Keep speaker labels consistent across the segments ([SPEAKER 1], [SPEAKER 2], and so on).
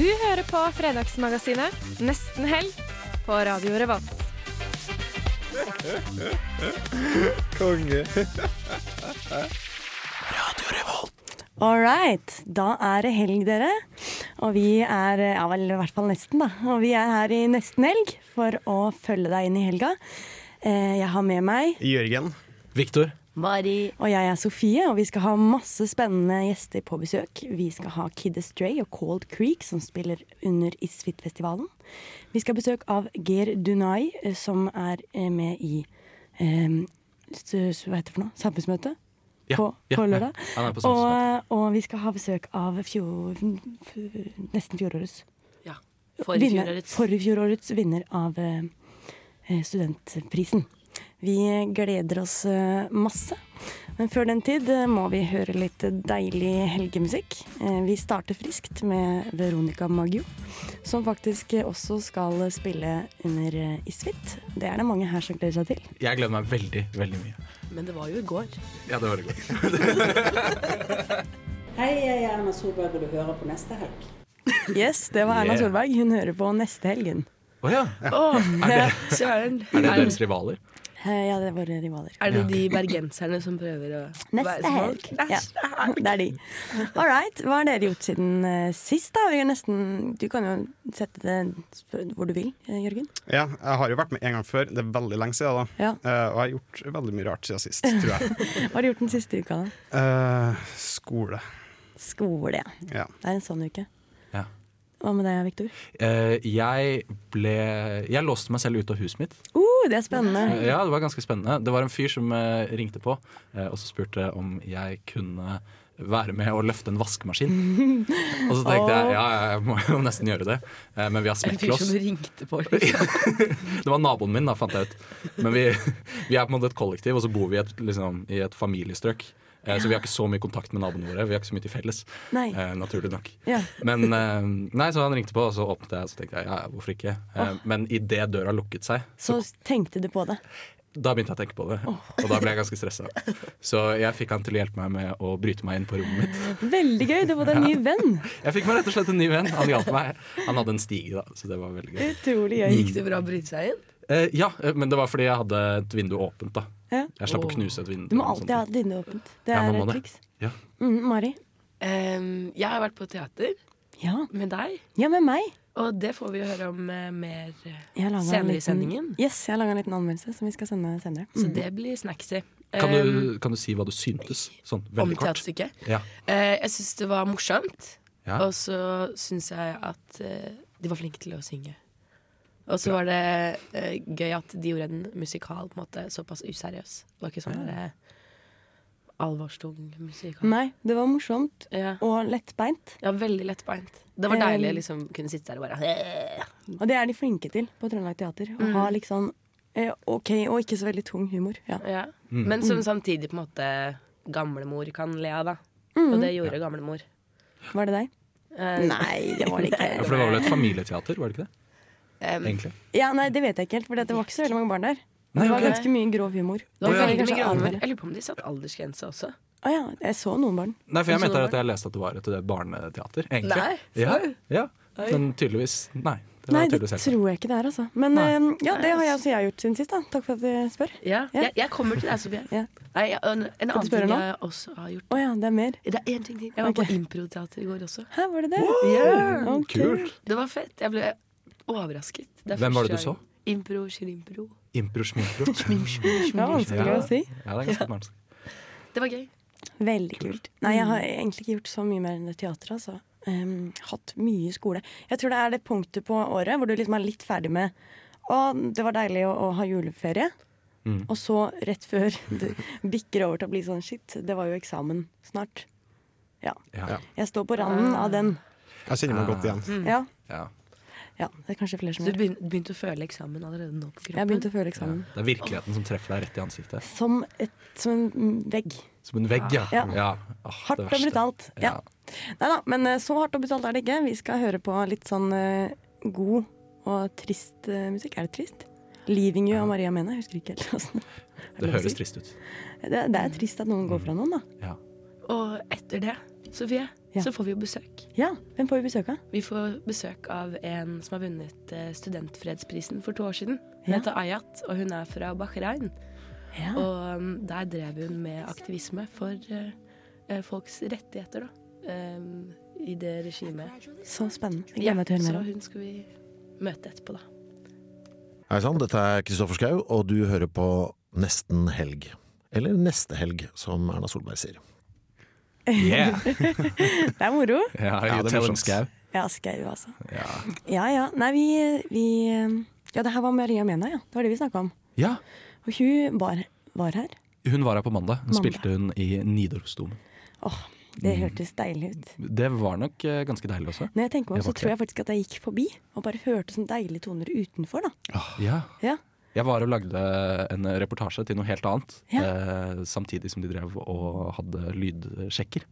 [SPEAKER 1] Du hører på Fredagsmagasinet Nesten helg på Radio Revolt.
[SPEAKER 2] Konge.
[SPEAKER 3] All right, da er det helg, dere. Og vi er Ja vel, i hvert fall nesten, da. Og vi er her i nesten helg for å følge deg inn i helga. Eh, Jeg har med meg
[SPEAKER 4] Jørgen.
[SPEAKER 5] Viktor.
[SPEAKER 1] Mari.
[SPEAKER 3] Og jeg er Sofie, og vi skal ha masse spennende gjester på besøk. Vi skal ha Kid Astray og Cold Creek, som spiller under Isfit-festivalen. Vi skal ha besøk av Geir Dunai, eh, som er eh, med i eh, s- s- Hva heter det for noe? Samfunnsmøte?
[SPEAKER 5] Ja,
[SPEAKER 3] På,
[SPEAKER 5] ja,
[SPEAKER 3] på
[SPEAKER 5] ja.
[SPEAKER 3] lørdag.
[SPEAKER 5] Han er på samfunnsmøte.
[SPEAKER 3] og, og vi skal ha besøk av fjor, f- nesten fjorårets vinner, forrige fjorårets vinner av eh, eh, studentprisen. Vi gleder oss eh, masse. Men før den tid eh, må vi høre litt deilig helgemusikk. Eh, Vi starter friskt med Veronica Maggio, som faktisk eh, også skal spille under eh, Isfit. Det er det mange her som gleder seg til.
[SPEAKER 5] Jeg gleder meg veldig, veldig mye.
[SPEAKER 6] Men det var jo i går.
[SPEAKER 5] Ja, det var det godt.
[SPEAKER 6] Hei, jeg er Erna Solberg, og du hører på neste helg.
[SPEAKER 3] Yes, det var Erna
[SPEAKER 5] Yeah.
[SPEAKER 3] Solberg. Hun hører på neste helgen.
[SPEAKER 5] Å ja.
[SPEAKER 6] Søren.
[SPEAKER 5] Er det
[SPEAKER 6] Er,
[SPEAKER 5] deres rivaler?
[SPEAKER 3] Eh, Ja, det er våre rivaler.
[SPEAKER 6] er det de bergenserne som prøver å være
[SPEAKER 3] Neste
[SPEAKER 6] som
[SPEAKER 3] helg.
[SPEAKER 6] folk? Neste
[SPEAKER 3] Ja,
[SPEAKER 6] helg.
[SPEAKER 3] det er de. All right. Hva har dere gjort siden eh, sist, da? Vi er nesten, du kan jo sette det sp- hvor du vil, eh, Jørgen.
[SPEAKER 4] Ja, jeg har jo vært med en gang før. Det er veldig lenge siden, da.
[SPEAKER 3] Ja.
[SPEAKER 4] Eh, og jeg har gjort veldig mye rart siden sist, tror jeg.
[SPEAKER 3] Hva har du gjort den siste uka, da?
[SPEAKER 4] Eh, skole.
[SPEAKER 3] Skole, ja.
[SPEAKER 4] Ja.
[SPEAKER 3] Det er en sånn uke.
[SPEAKER 5] Ja.
[SPEAKER 3] Hva med deg, Viktor?
[SPEAKER 5] Eh, jeg ble Jeg låste meg selv ute av huset mitt.
[SPEAKER 3] Uh, det er spennende.
[SPEAKER 5] Ja, det var ganske spennende. Det var en fyr som eh, ringte på eh, og så spurte om jeg kunne være med og løfte en vaskemaskin. Og så tenkte jeg ja, jeg må jo nesten gjøre det. Eh, Men vi har
[SPEAKER 6] En fyr
[SPEAKER 5] smekklås.
[SPEAKER 6] som ringte på.
[SPEAKER 5] Det var naboen min, da, fant jeg ut. Men vi, vi er på en måte et kollektiv, og så bor vi i et, liksom, i et familiestrøk. Eh, Så vi har ikke så mye kontakt med naboene våre. Vi har ikke så mye til felles.
[SPEAKER 3] Nei.
[SPEAKER 5] Eh, naturlig nok.
[SPEAKER 3] Ja.
[SPEAKER 5] Men eh, nei, så han ringte på, og så åpnet jeg, og så tenkte jeg ja, ja, hvorfor ikke? Eh, men idet døra lukket seg,
[SPEAKER 3] Så tenkte du på det.
[SPEAKER 5] da begynte jeg å tenke på det. Og da ble jeg ganske stressa. Så jeg fikk han til å hjelpe meg med å bryte meg inn på rommet mitt.
[SPEAKER 3] Veldig gøy. Du har fått deg en ny venn.
[SPEAKER 5] Jeg fikk meg rett og slett en ny venn. Han hjalp meg. Han hadde en stige, da, så det var veldig gøy.
[SPEAKER 3] Utrolig
[SPEAKER 5] Mm.
[SPEAKER 3] gøy.
[SPEAKER 6] Gikk det bra å bryte seg inn?
[SPEAKER 5] Eh, ja, eh, men det var fordi jeg hadde et vindu åpent, da.
[SPEAKER 3] Ja.
[SPEAKER 5] Jeg slapp
[SPEAKER 6] Åh.
[SPEAKER 5] å knuse et vindu.
[SPEAKER 3] Du må
[SPEAKER 5] og sånne
[SPEAKER 3] alltid ha et vindu åpent. Det
[SPEAKER 5] Ja,
[SPEAKER 3] er
[SPEAKER 5] man må
[SPEAKER 3] et
[SPEAKER 5] det.
[SPEAKER 3] triks.
[SPEAKER 5] Ja.
[SPEAKER 3] Mm, Mari?
[SPEAKER 6] Ehm, jeg har vært på teater
[SPEAKER 3] Ja.
[SPEAKER 6] med deg,
[SPEAKER 3] ja, med meg.
[SPEAKER 6] og det får vi jo høre om eh, mer. eh,
[SPEAKER 3] Jeg har laget en
[SPEAKER 6] Senere i
[SPEAKER 3] liten-
[SPEAKER 6] sendingen?
[SPEAKER 3] Yes, jeg har laga en liten anmeldelse som vi skal sende senere. Mm.
[SPEAKER 6] Så det blir snacksy.
[SPEAKER 5] Kan
[SPEAKER 6] Ehm,
[SPEAKER 5] du, kan du si hva du syntes? Sånn,
[SPEAKER 6] om
[SPEAKER 5] veldig kort.
[SPEAKER 6] teaterstykket.
[SPEAKER 5] Ja.
[SPEAKER 6] Eh, jeg syns det var morsomt,
[SPEAKER 5] Ja.
[SPEAKER 6] og så syns jeg at eh, de var flinke til å synge. Og så var det eh, gøy at de gjorde en musikal på en måte såpass useriøs. Det var ikke sånn der, eh, alvorstung musikal.
[SPEAKER 3] Nei, det var morsomt
[SPEAKER 6] Ja.
[SPEAKER 3] og lettbeint.
[SPEAKER 6] ja, veldig lettbeint. Det var
[SPEAKER 3] Eh,
[SPEAKER 6] deilig å liksom, kunne sitte der og bare eh.
[SPEAKER 3] Og det er de flinke til på Trøndelag Teater. Å
[SPEAKER 6] Mm.
[SPEAKER 3] ha liksom eh, OK og ikke så veldig tung humor. Ja.
[SPEAKER 6] ja. Men som samtidig på en måte gamlemor kan le av, da. Og det gjorde gamlemor.
[SPEAKER 3] Var det deg?
[SPEAKER 6] Eh,
[SPEAKER 3] Nei, det var det
[SPEAKER 5] ja,
[SPEAKER 3] ikke.
[SPEAKER 5] for det var vel et familieteater, var det ikke det?
[SPEAKER 6] em,
[SPEAKER 5] Egentlig.
[SPEAKER 3] Ja, nei, Ehm, Det vet jeg ikke helt, for det var ikke så veldig mange barn der.
[SPEAKER 5] Nei,
[SPEAKER 3] Det var
[SPEAKER 5] ok.
[SPEAKER 3] ganske mye grov humor.
[SPEAKER 6] det var
[SPEAKER 5] Å, ja.
[SPEAKER 6] veldig mye
[SPEAKER 3] Kanskje
[SPEAKER 6] gamlemor.
[SPEAKER 3] alder.
[SPEAKER 6] Jeg lurer på om de satte aldersgrense også.
[SPEAKER 3] Å ja, jeg så noen barn.
[SPEAKER 5] Nei, for jeg mente at jeg leste at det var et barneteater, egentlig.
[SPEAKER 6] Nei,
[SPEAKER 5] ja, ja. Men tydeligvis Nei. Det var
[SPEAKER 3] Nei, det
[SPEAKER 5] tydeligvis helt
[SPEAKER 3] tror jeg ikke det er, altså. Men
[SPEAKER 5] Nei.
[SPEAKER 3] eh, ja, det har jeg også jeg gjort siden sist, da. Takk for at du spør.
[SPEAKER 6] Ja,
[SPEAKER 3] Ja.
[SPEAKER 6] Jeg, jeg kommer til deg, Sofie.
[SPEAKER 3] Ja.
[SPEAKER 6] Nei, jeg- en, en annen
[SPEAKER 3] spørre
[SPEAKER 6] ting
[SPEAKER 3] nå?
[SPEAKER 6] jeg også har gjort
[SPEAKER 3] Å ja, det er mer.
[SPEAKER 6] Det er én ting til. Jeg var
[SPEAKER 3] Ok.
[SPEAKER 6] på improteater i går også.
[SPEAKER 3] Hæ, var det det?
[SPEAKER 5] sant.
[SPEAKER 3] Ok.
[SPEAKER 5] Kult.
[SPEAKER 6] Det var fett. Jeg ble overrasket. Det er
[SPEAKER 5] Hvem var
[SPEAKER 6] første
[SPEAKER 5] det du
[SPEAKER 6] gang.
[SPEAKER 5] så?
[SPEAKER 6] Impro, shirimpro.
[SPEAKER 5] Impro-smimpro.
[SPEAKER 3] Det var vanskelig å si.
[SPEAKER 5] Ja, det er ganske vanskelig.
[SPEAKER 6] Det var gøy.
[SPEAKER 3] Veldig kult. Nei, jeg har egentlig ikke gjort så mye mer enn det teatret, altså. Ehm, hatt mye skole. Jeg tror det er det punktet på året hvor du liksom er litt ferdig med Å, det var deilig å, å ha juleferie. Og så rett før du bikker over til å bli sånn shit, det var jo eksamen snart. Ja.
[SPEAKER 5] Ja.
[SPEAKER 3] Jeg står på randen av den.
[SPEAKER 4] Jeg kjenner meg godt igjen.
[SPEAKER 3] Ja,
[SPEAKER 5] Ja.
[SPEAKER 3] ja, det er kanskje flere som
[SPEAKER 6] Så du
[SPEAKER 3] gjør det.
[SPEAKER 6] begyn- begynte å føle eksamen allerede nå på
[SPEAKER 3] Jeg
[SPEAKER 6] kroppen?
[SPEAKER 3] begynte å føle eksamen
[SPEAKER 5] Det er virkeligheten som treffer deg rett i ansiktet.
[SPEAKER 3] som, et, som en vegg.
[SPEAKER 5] Som en vegg, ja.
[SPEAKER 3] Ja.
[SPEAKER 5] Åh,
[SPEAKER 3] Hardt
[SPEAKER 5] det
[SPEAKER 3] og
[SPEAKER 5] verste.
[SPEAKER 3] brutalt. Ja.
[SPEAKER 5] Ja.
[SPEAKER 3] Nei da, men eh, så hardt og brutalt er det ikke. Vi skal høre på litt sånn eh, god og trist eh, musikk. Er det trist? 'Leaving You' av Maria Mena. Jeg husker ikke helt åssen
[SPEAKER 5] Det høres trist ut. Mm.
[SPEAKER 3] det, det er trist at noen går fra noen, da.
[SPEAKER 5] Ja.
[SPEAKER 6] Og etter det, Sofie,
[SPEAKER 3] Ja.
[SPEAKER 6] så får vi jo besøk.
[SPEAKER 3] Ja, Hvem får vi besøk av?
[SPEAKER 6] Vi får besøk av en som har vunnet eh, studentfredsprisen for to år siden. Hun
[SPEAKER 3] Ja.
[SPEAKER 6] heter Ayat, og hun er fra Bahrain.
[SPEAKER 3] Ja.
[SPEAKER 6] Og um, der drev hun med aktivisme for eh, eh, folks rettigheter, da. Um, I det regimet.
[SPEAKER 3] Så spennende. Jeg gleder meg til å høre
[SPEAKER 6] så
[SPEAKER 3] mer om.
[SPEAKER 6] hun skal vi møte etterpå, da.
[SPEAKER 7] Hei sann, dette er Kristoffer Schau, og du hører på Nesten helg. Eller Neste helg, som Erna Solberg sier.
[SPEAKER 5] Yeah.
[SPEAKER 3] Det er moro.
[SPEAKER 5] Ja,
[SPEAKER 4] det er
[SPEAKER 5] tell them,
[SPEAKER 4] morsomt.
[SPEAKER 5] Skau.
[SPEAKER 3] Ja, skau, altså.
[SPEAKER 5] Ja.
[SPEAKER 3] Ja ja. Nei, vi, vi eh, Ja, det her var Maria Mena, ja. Det var det vi snakka om.
[SPEAKER 5] ja.
[SPEAKER 3] Og hun var, var her.
[SPEAKER 5] Hun var her på mandag. Hun
[SPEAKER 3] Mandag.
[SPEAKER 5] spilte hun i Nidarosdomen.
[SPEAKER 3] Åh, det
[SPEAKER 5] Mm.
[SPEAKER 3] hørtes deilig ut.
[SPEAKER 5] Det var nok eh, ganske deilig også.
[SPEAKER 3] Når jeg tenker meg om,
[SPEAKER 5] Jeg var
[SPEAKER 3] så
[SPEAKER 5] ikke
[SPEAKER 3] tror jeg faktisk at jeg gikk forbi og bare hørte sånne deilige toner utenfor, da.
[SPEAKER 5] Ja.
[SPEAKER 3] Ja.
[SPEAKER 5] Jeg var og lagde en reportasje til noe helt annet,
[SPEAKER 3] Ja.
[SPEAKER 5] eh, samtidig som de drev og hadde lydsjekker.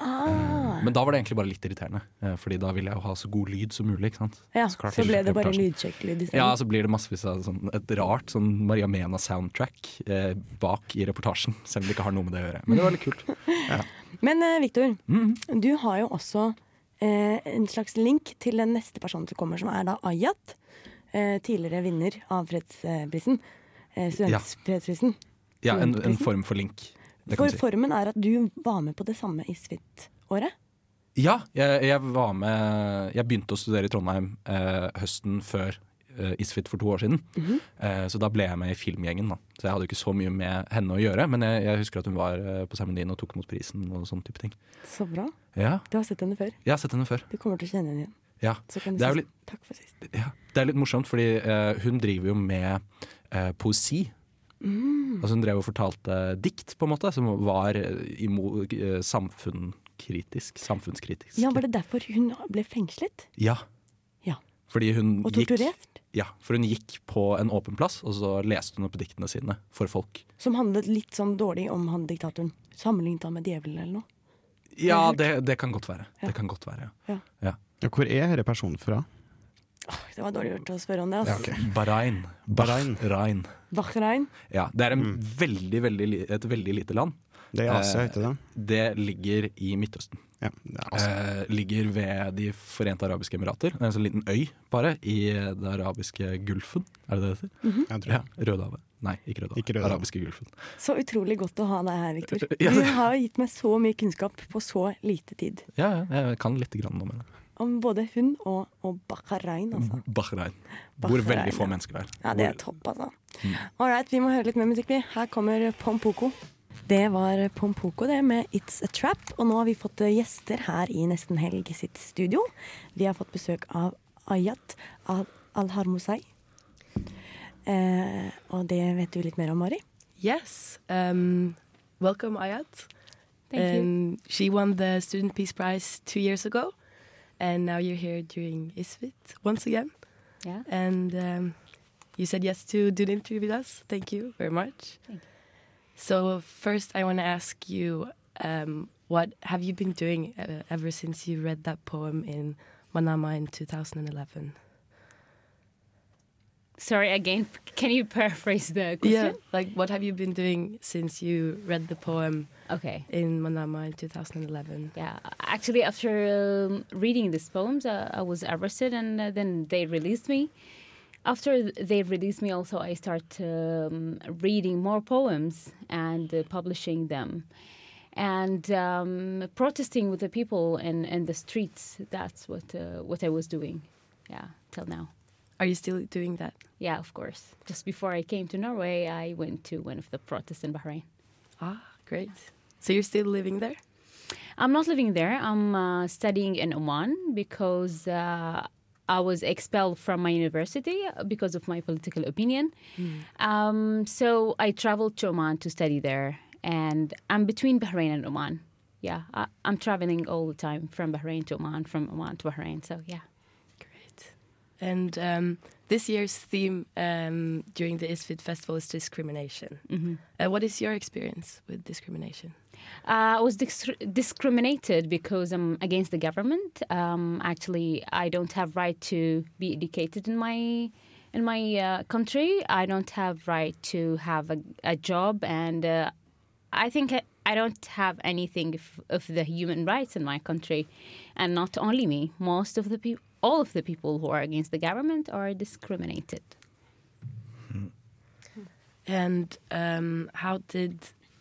[SPEAKER 5] Eh,
[SPEAKER 3] Ah.
[SPEAKER 5] Men da var det egentlig bare litt irriterende, eh, Fordi da ville jeg jo ha så god lyd som mulig. ikke sant?
[SPEAKER 3] Ja,
[SPEAKER 5] Så klart
[SPEAKER 3] så ble det bare
[SPEAKER 5] reportasjen.
[SPEAKER 3] lydsjekklyd
[SPEAKER 5] Ja,
[SPEAKER 3] isteden.
[SPEAKER 5] så blir det massevis av sånn, et rart sånn Maria Mena-soundtrack eh, bak i reportasjen, selv om det ikke har noe med det å gjøre. Men det var litt kult. altså-
[SPEAKER 3] Men eh, Victor,
[SPEAKER 5] Mhm.
[SPEAKER 3] du har jo også eh, en slags link til den neste personen som kommer, som er da Ayat. Eh, tidligere vinner av fredsprisen. Eh, Studentfredsprisen.
[SPEAKER 5] Ja, en, en form for link. Det kan
[SPEAKER 3] For
[SPEAKER 5] du si.
[SPEAKER 3] formen er at du var med på det samme i Svit-året.
[SPEAKER 5] Ja, jeg, jeg var med Jeg begynte å studere i Trondheim eh, høsten før eh, Isfit for to år siden.
[SPEAKER 3] Mhm.
[SPEAKER 5] eh, så da ble jeg med i filmgjengen. da Så jeg hadde ikke så mye med henne å gjøre, men jeg, jeg husker at hun var eh, på seremonien og tok imot prisen og sånn type ting.
[SPEAKER 3] Så bra.
[SPEAKER 5] Ja,
[SPEAKER 3] Du har sett henne før.
[SPEAKER 5] jeg har sett henne før.
[SPEAKER 3] Du kommer til å kjenne henne igjen.
[SPEAKER 5] Ja.
[SPEAKER 3] Så kan du
[SPEAKER 5] Det er
[SPEAKER 3] si sånn,
[SPEAKER 5] jo
[SPEAKER 3] takk for sist.
[SPEAKER 5] Ja, det er litt morsomt, fordi eh, hun driver jo med eh, poesi.
[SPEAKER 3] Mm.
[SPEAKER 5] Altså Hun drev og fortalte dikt, på en måte, som var eh, imo, eh, samfunnskritisk. Samfunnskritisk.
[SPEAKER 3] Ja, Var det derfor hun ble fengslet?
[SPEAKER 5] Ja.
[SPEAKER 3] Ja.
[SPEAKER 5] Fordi hun
[SPEAKER 3] Og
[SPEAKER 5] gikk,
[SPEAKER 3] torturert?
[SPEAKER 5] ja, for hun gikk på en åpen plass, og så leste hun opp diktene sine for folk.
[SPEAKER 3] Som handlet litt sånn dårlig om han diktatoren. Sammenlignet han med djevelen eller noe.
[SPEAKER 5] Ja, det, det kan godt være. Det kan godt være, ja.
[SPEAKER 3] Ja.
[SPEAKER 4] Ja, Hvor er denne personen fra?
[SPEAKER 3] Åh, Det var dårlig gjort å spørre om det. ass.
[SPEAKER 5] Bahrain.
[SPEAKER 4] Bahrain.
[SPEAKER 5] Bahrain. Mm.
[SPEAKER 3] Bahrain.
[SPEAKER 5] Ja, det er en veldig, veldig, li- et veldig lite land.
[SPEAKER 4] Det er Asia, heter det?
[SPEAKER 5] Det ligger i Midtøsten.
[SPEAKER 4] Ja, det er Asia.
[SPEAKER 5] Eh, ligger ved De forente arabiske emirater. Det er en sånn liten øy, bare, i det arabiske gulfen. Er det det det heter?
[SPEAKER 3] Mhm.
[SPEAKER 4] Jeg tror
[SPEAKER 5] Ja,
[SPEAKER 4] det.
[SPEAKER 5] Rødehavet. Nei, ikke Rødehavet.
[SPEAKER 4] Ikke Rødehavet.
[SPEAKER 5] Arabiske gulfen.
[SPEAKER 3] Så utrolig godt å ha deg her, Victor.
[SPEAKER 5] Ja,
[SPEAKER 3] Du
[SPEAKER 5] det-
[SPEAKER 3] har jo gitt meg så mye kunnskap på så lite tid.
[SPEAKER 5] Ja, ja, jeg kan lite grann om det.
[SPEAKER 3] Om både hun og, og Bahrain, altså.
[SPEAKER 5] Bahrain. Hvor
[SPEAKER 3] Bahrain,
[SPEAKER 5] veldig få
[SPEAKER 3] ja.
[SPEAKER 5] mennesker det er.
[SPEAKER 3] Ja, det er
[SPEAKER 5] Hvor-
[SPEAKER 3] topp, altså. Ålreit, vi må høre litt mer musikk, vi. Her kommer Pompoko. Det var Pompoko, det, med It's a Trap. Og nå har vi fått eh, gjester her i Nesten Helg sitt studio. Vi har fått besøk av Ayat Al- Al-Harmousai. Eh, og det vet du litt mer om, Mari.
[SPEAKER 6] Yes. Um, welcome, Ayat.
[SPEAKER 1] Thank you.
[SPEAKER 6] Um, she won the Student Peace Prize two years ago, and now you're here during ISFIT once again.
[SPEAKER 8] Yeah.
[SPEAKER 6] And um, you said yes to do the interview with us. Thank you very much.
[SPEAKER 8] Thank you.
[SPEAKER 6] So first, I want to ask you, um, what have you been doing uh, ever since you read that poem in Manama in 2011?
[SPEAKER 8] Sorry again. Can you paraphrase the
[SPEAKER 6] Yeah,
[SPEAKER 8] question?
[SPEAKER 6] like what have you been doing since you read the poem
[SPEAKER 8] Okay.
[SPEAKER 6] in Manama in 2011?
[SPEAKER 8] Yeah. Actually, after um, reading these poems, uh, I was arrested, and uh, then they released me. After th- they released me, also I start um, reading more poems and uh, publishing them, and um, protesting with the people in, in the streets. That's what uh, what I was doing. Yeah, till now.
[SPEAKER 6] Are you still doing that?
[SPEAKER 8] Yeah, of course. Just before I came to Norway, I went to one of the protests in Bahrain.
[SPEAKER 6] Ah, great. So you're still living there?
[SPEAKER 8] I'm not living there. I'm uh, studying in Oman because uh, I was expelled from my university uh, because of my political opinion. Um, so I traveled to Oman to study there, and I'm between Bahrain and Oman. yeah, I, I'm traveling all the time from Bahrain to Oman, from Oman to Bahrain. So yeah.
[SPEAKER 9] And um, this year's theme um, during the ISFIT festival is discrimination.
[SPEAKER 8] Mhm.
[SPEAKER 9] Uh, what is your experience with discrimination?
[SPEAKER 8] Uh, I was dis- discriminated because I'm against the government. Um, actually, I don't have right to be educated in my in my uh, country. I don't have right to have a, a job, and uh, I think I, I don't have anything of, of the human rights in my country. And not only me, most of the people, all of the people who are against the government are discriminated.
[SPEAKER 9] And um, how did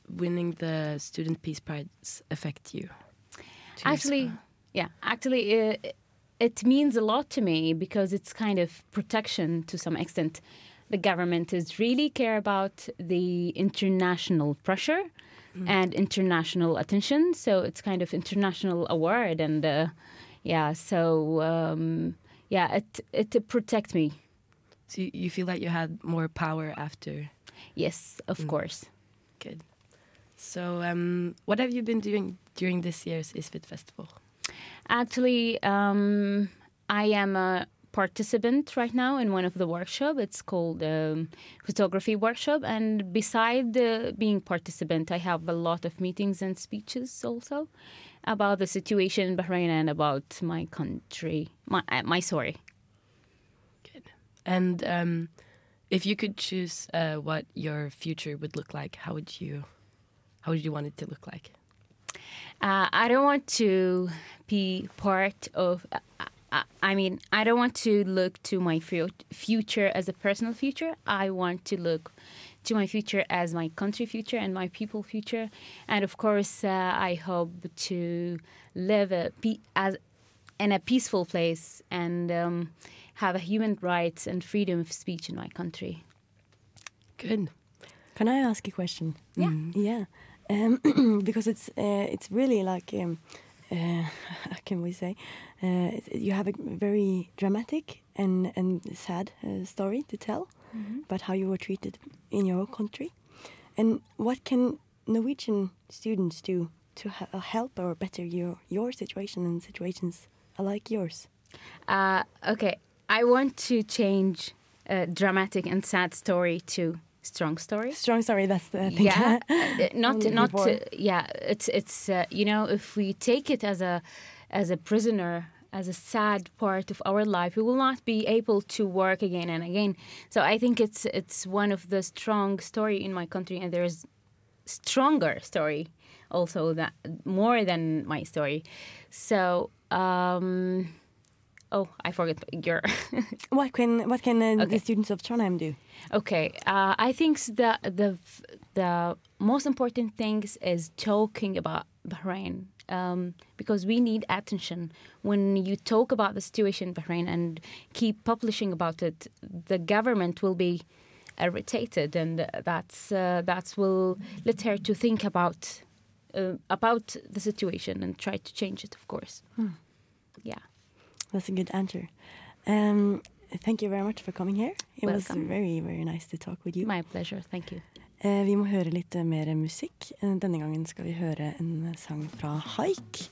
[SPEAKER 9] winning the Student Peace Prize affect you? Cheers.
[SPEAKER 8] actually yeah actually uh, it means a lot to me because it's kind of protection to some extent the government is really care about the international pressure and international attention so it's kind of international award and uh, yeah so um, yeah it it protect me
[SPEAKER 9] so you feel that you had more power after
[SPEAKER 8] yes of course
[SPEAKER 9] Good. So, um, what have you been doing during this year's ISFIT festival?
[SPEAKER 8] Actually, um, I am a participant right now in one of the workshop. It's called um, photography workshop. And beside uh, being participant, I have a lot of meetings and speeches also about the situation in Bahrain and about my country, my uh, my story.
[SPEAKER 9] And um, if you could choose uh, what your future would look like, how would you, how would you want it to look like?
[SPEAKER 8] Uh, I don't want to be part of. Uh, I- I mean, I don't want to look to my fu- future as a personal future. I want to look to my future as my country future and my people future. And of course, uh, I hope to live a pe- as in a peaceful place and um, have a human rights and freedom of speech in my country.
[SPEAKER 9] Good.
[SPEAKER 3] Can I ask a question? Yeah. Yeah. Um, because it's uh, it's really like um, uh, how can we say uh, it- you have a very dramatic and and sad uh, story to tell
[SPEAKER 10] Mhm.
[SPEAKER 3] about how you were treated in your own country, and what can Norwegian students do to he- help or better your your situation and situations like yours?
[SPEAKER 8] Uh, okay, I want to change uh, dramatic and sad story to strong story.
[SPEAKER 3] Strong story. That's the thing.
[SPEAKER 8] Yeah, uh, not
[SPEAKER 3] I'm looking
[SPEAKER 8] not
[SPEAKER 3] for.
[SPEAKER 8] uh, yeah. It's it's uh, you know if we take it as a as a prisoner as a sad part of our life, we will not be able to work again and again. So I think it's it's one of the strong story in my country, and there is stronger story also that more than my story. So. um Oh, I forgot your
[SPEAKER 3] What can what can uh, the students of Trondheim do?
[SPEAKER 8] Okay, uh, I think s- the the f- the most important things is talking about Bahrain um, because we need attention. When you talk about the situation in Bahrain and keep publishing about it, the government will be irritated, and that's uh, that's will let her to think about uh, about the situation and try to change it. Of course,
[SPEAKER 3] Hmm.
[SPEAKER 8] yeah.
[SPEAKER 3] That's a good answer. Um, thank you very much for coming here. It was
[SPEAKER 8] Welcome.
[SPEAKER 3] very, very nice to talk with you.
[SPEAKER 8] My pleasure. Thank you.
[SPEAKER 3] Eh, vi må høre litt eh, mer musikk. Eh, Denne gangen skal vi høre en eh, sang fra Haik.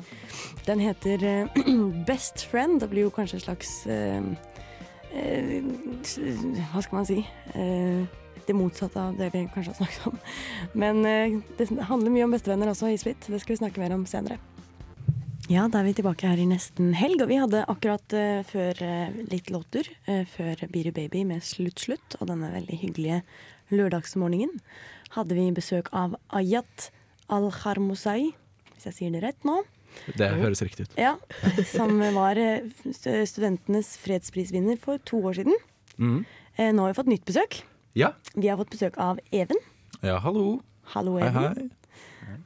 [SPEAKER 3] Den heter eh, Best Friend. Det blir jo kanskje et slags eh, eh, s- Hva skal man si? Eh, det motsatte av det vi kanskje har snakket om. Men eh, det handler mye om bestevenner også i Split. Det skal vi snakke mer om senere. Ja, da er vi tilbake her i nesten helg, og vi hadde akkurat eh, før eh, litt låter. eh, før Beer Baby med Slutt Slutt og denne veldig hyggelige lørdagsmorgenen hadde vi besøk av Ayat Al-Harmosai, hvis jeg sier det rett nå.
[SPEAKER 5] Det høres riktig ut.
[SPEAKER 3] Ja, Som var eh, st- studentenes fredsprisvinner for to år siden.
[SPEAKER 5] Mhm.
[SPEAKER 3] Eh, Nå har vi fått nytt besøk.
[SPEAKER 5] Ja.
[SPEAKER 3] Vi har fått besøk av Even.
[SPEAKER 5] ja, hallo.
[SPEAKER 3] Hallo,
[SPEAKER 11] Hei,
[SPEAKER 3] Even.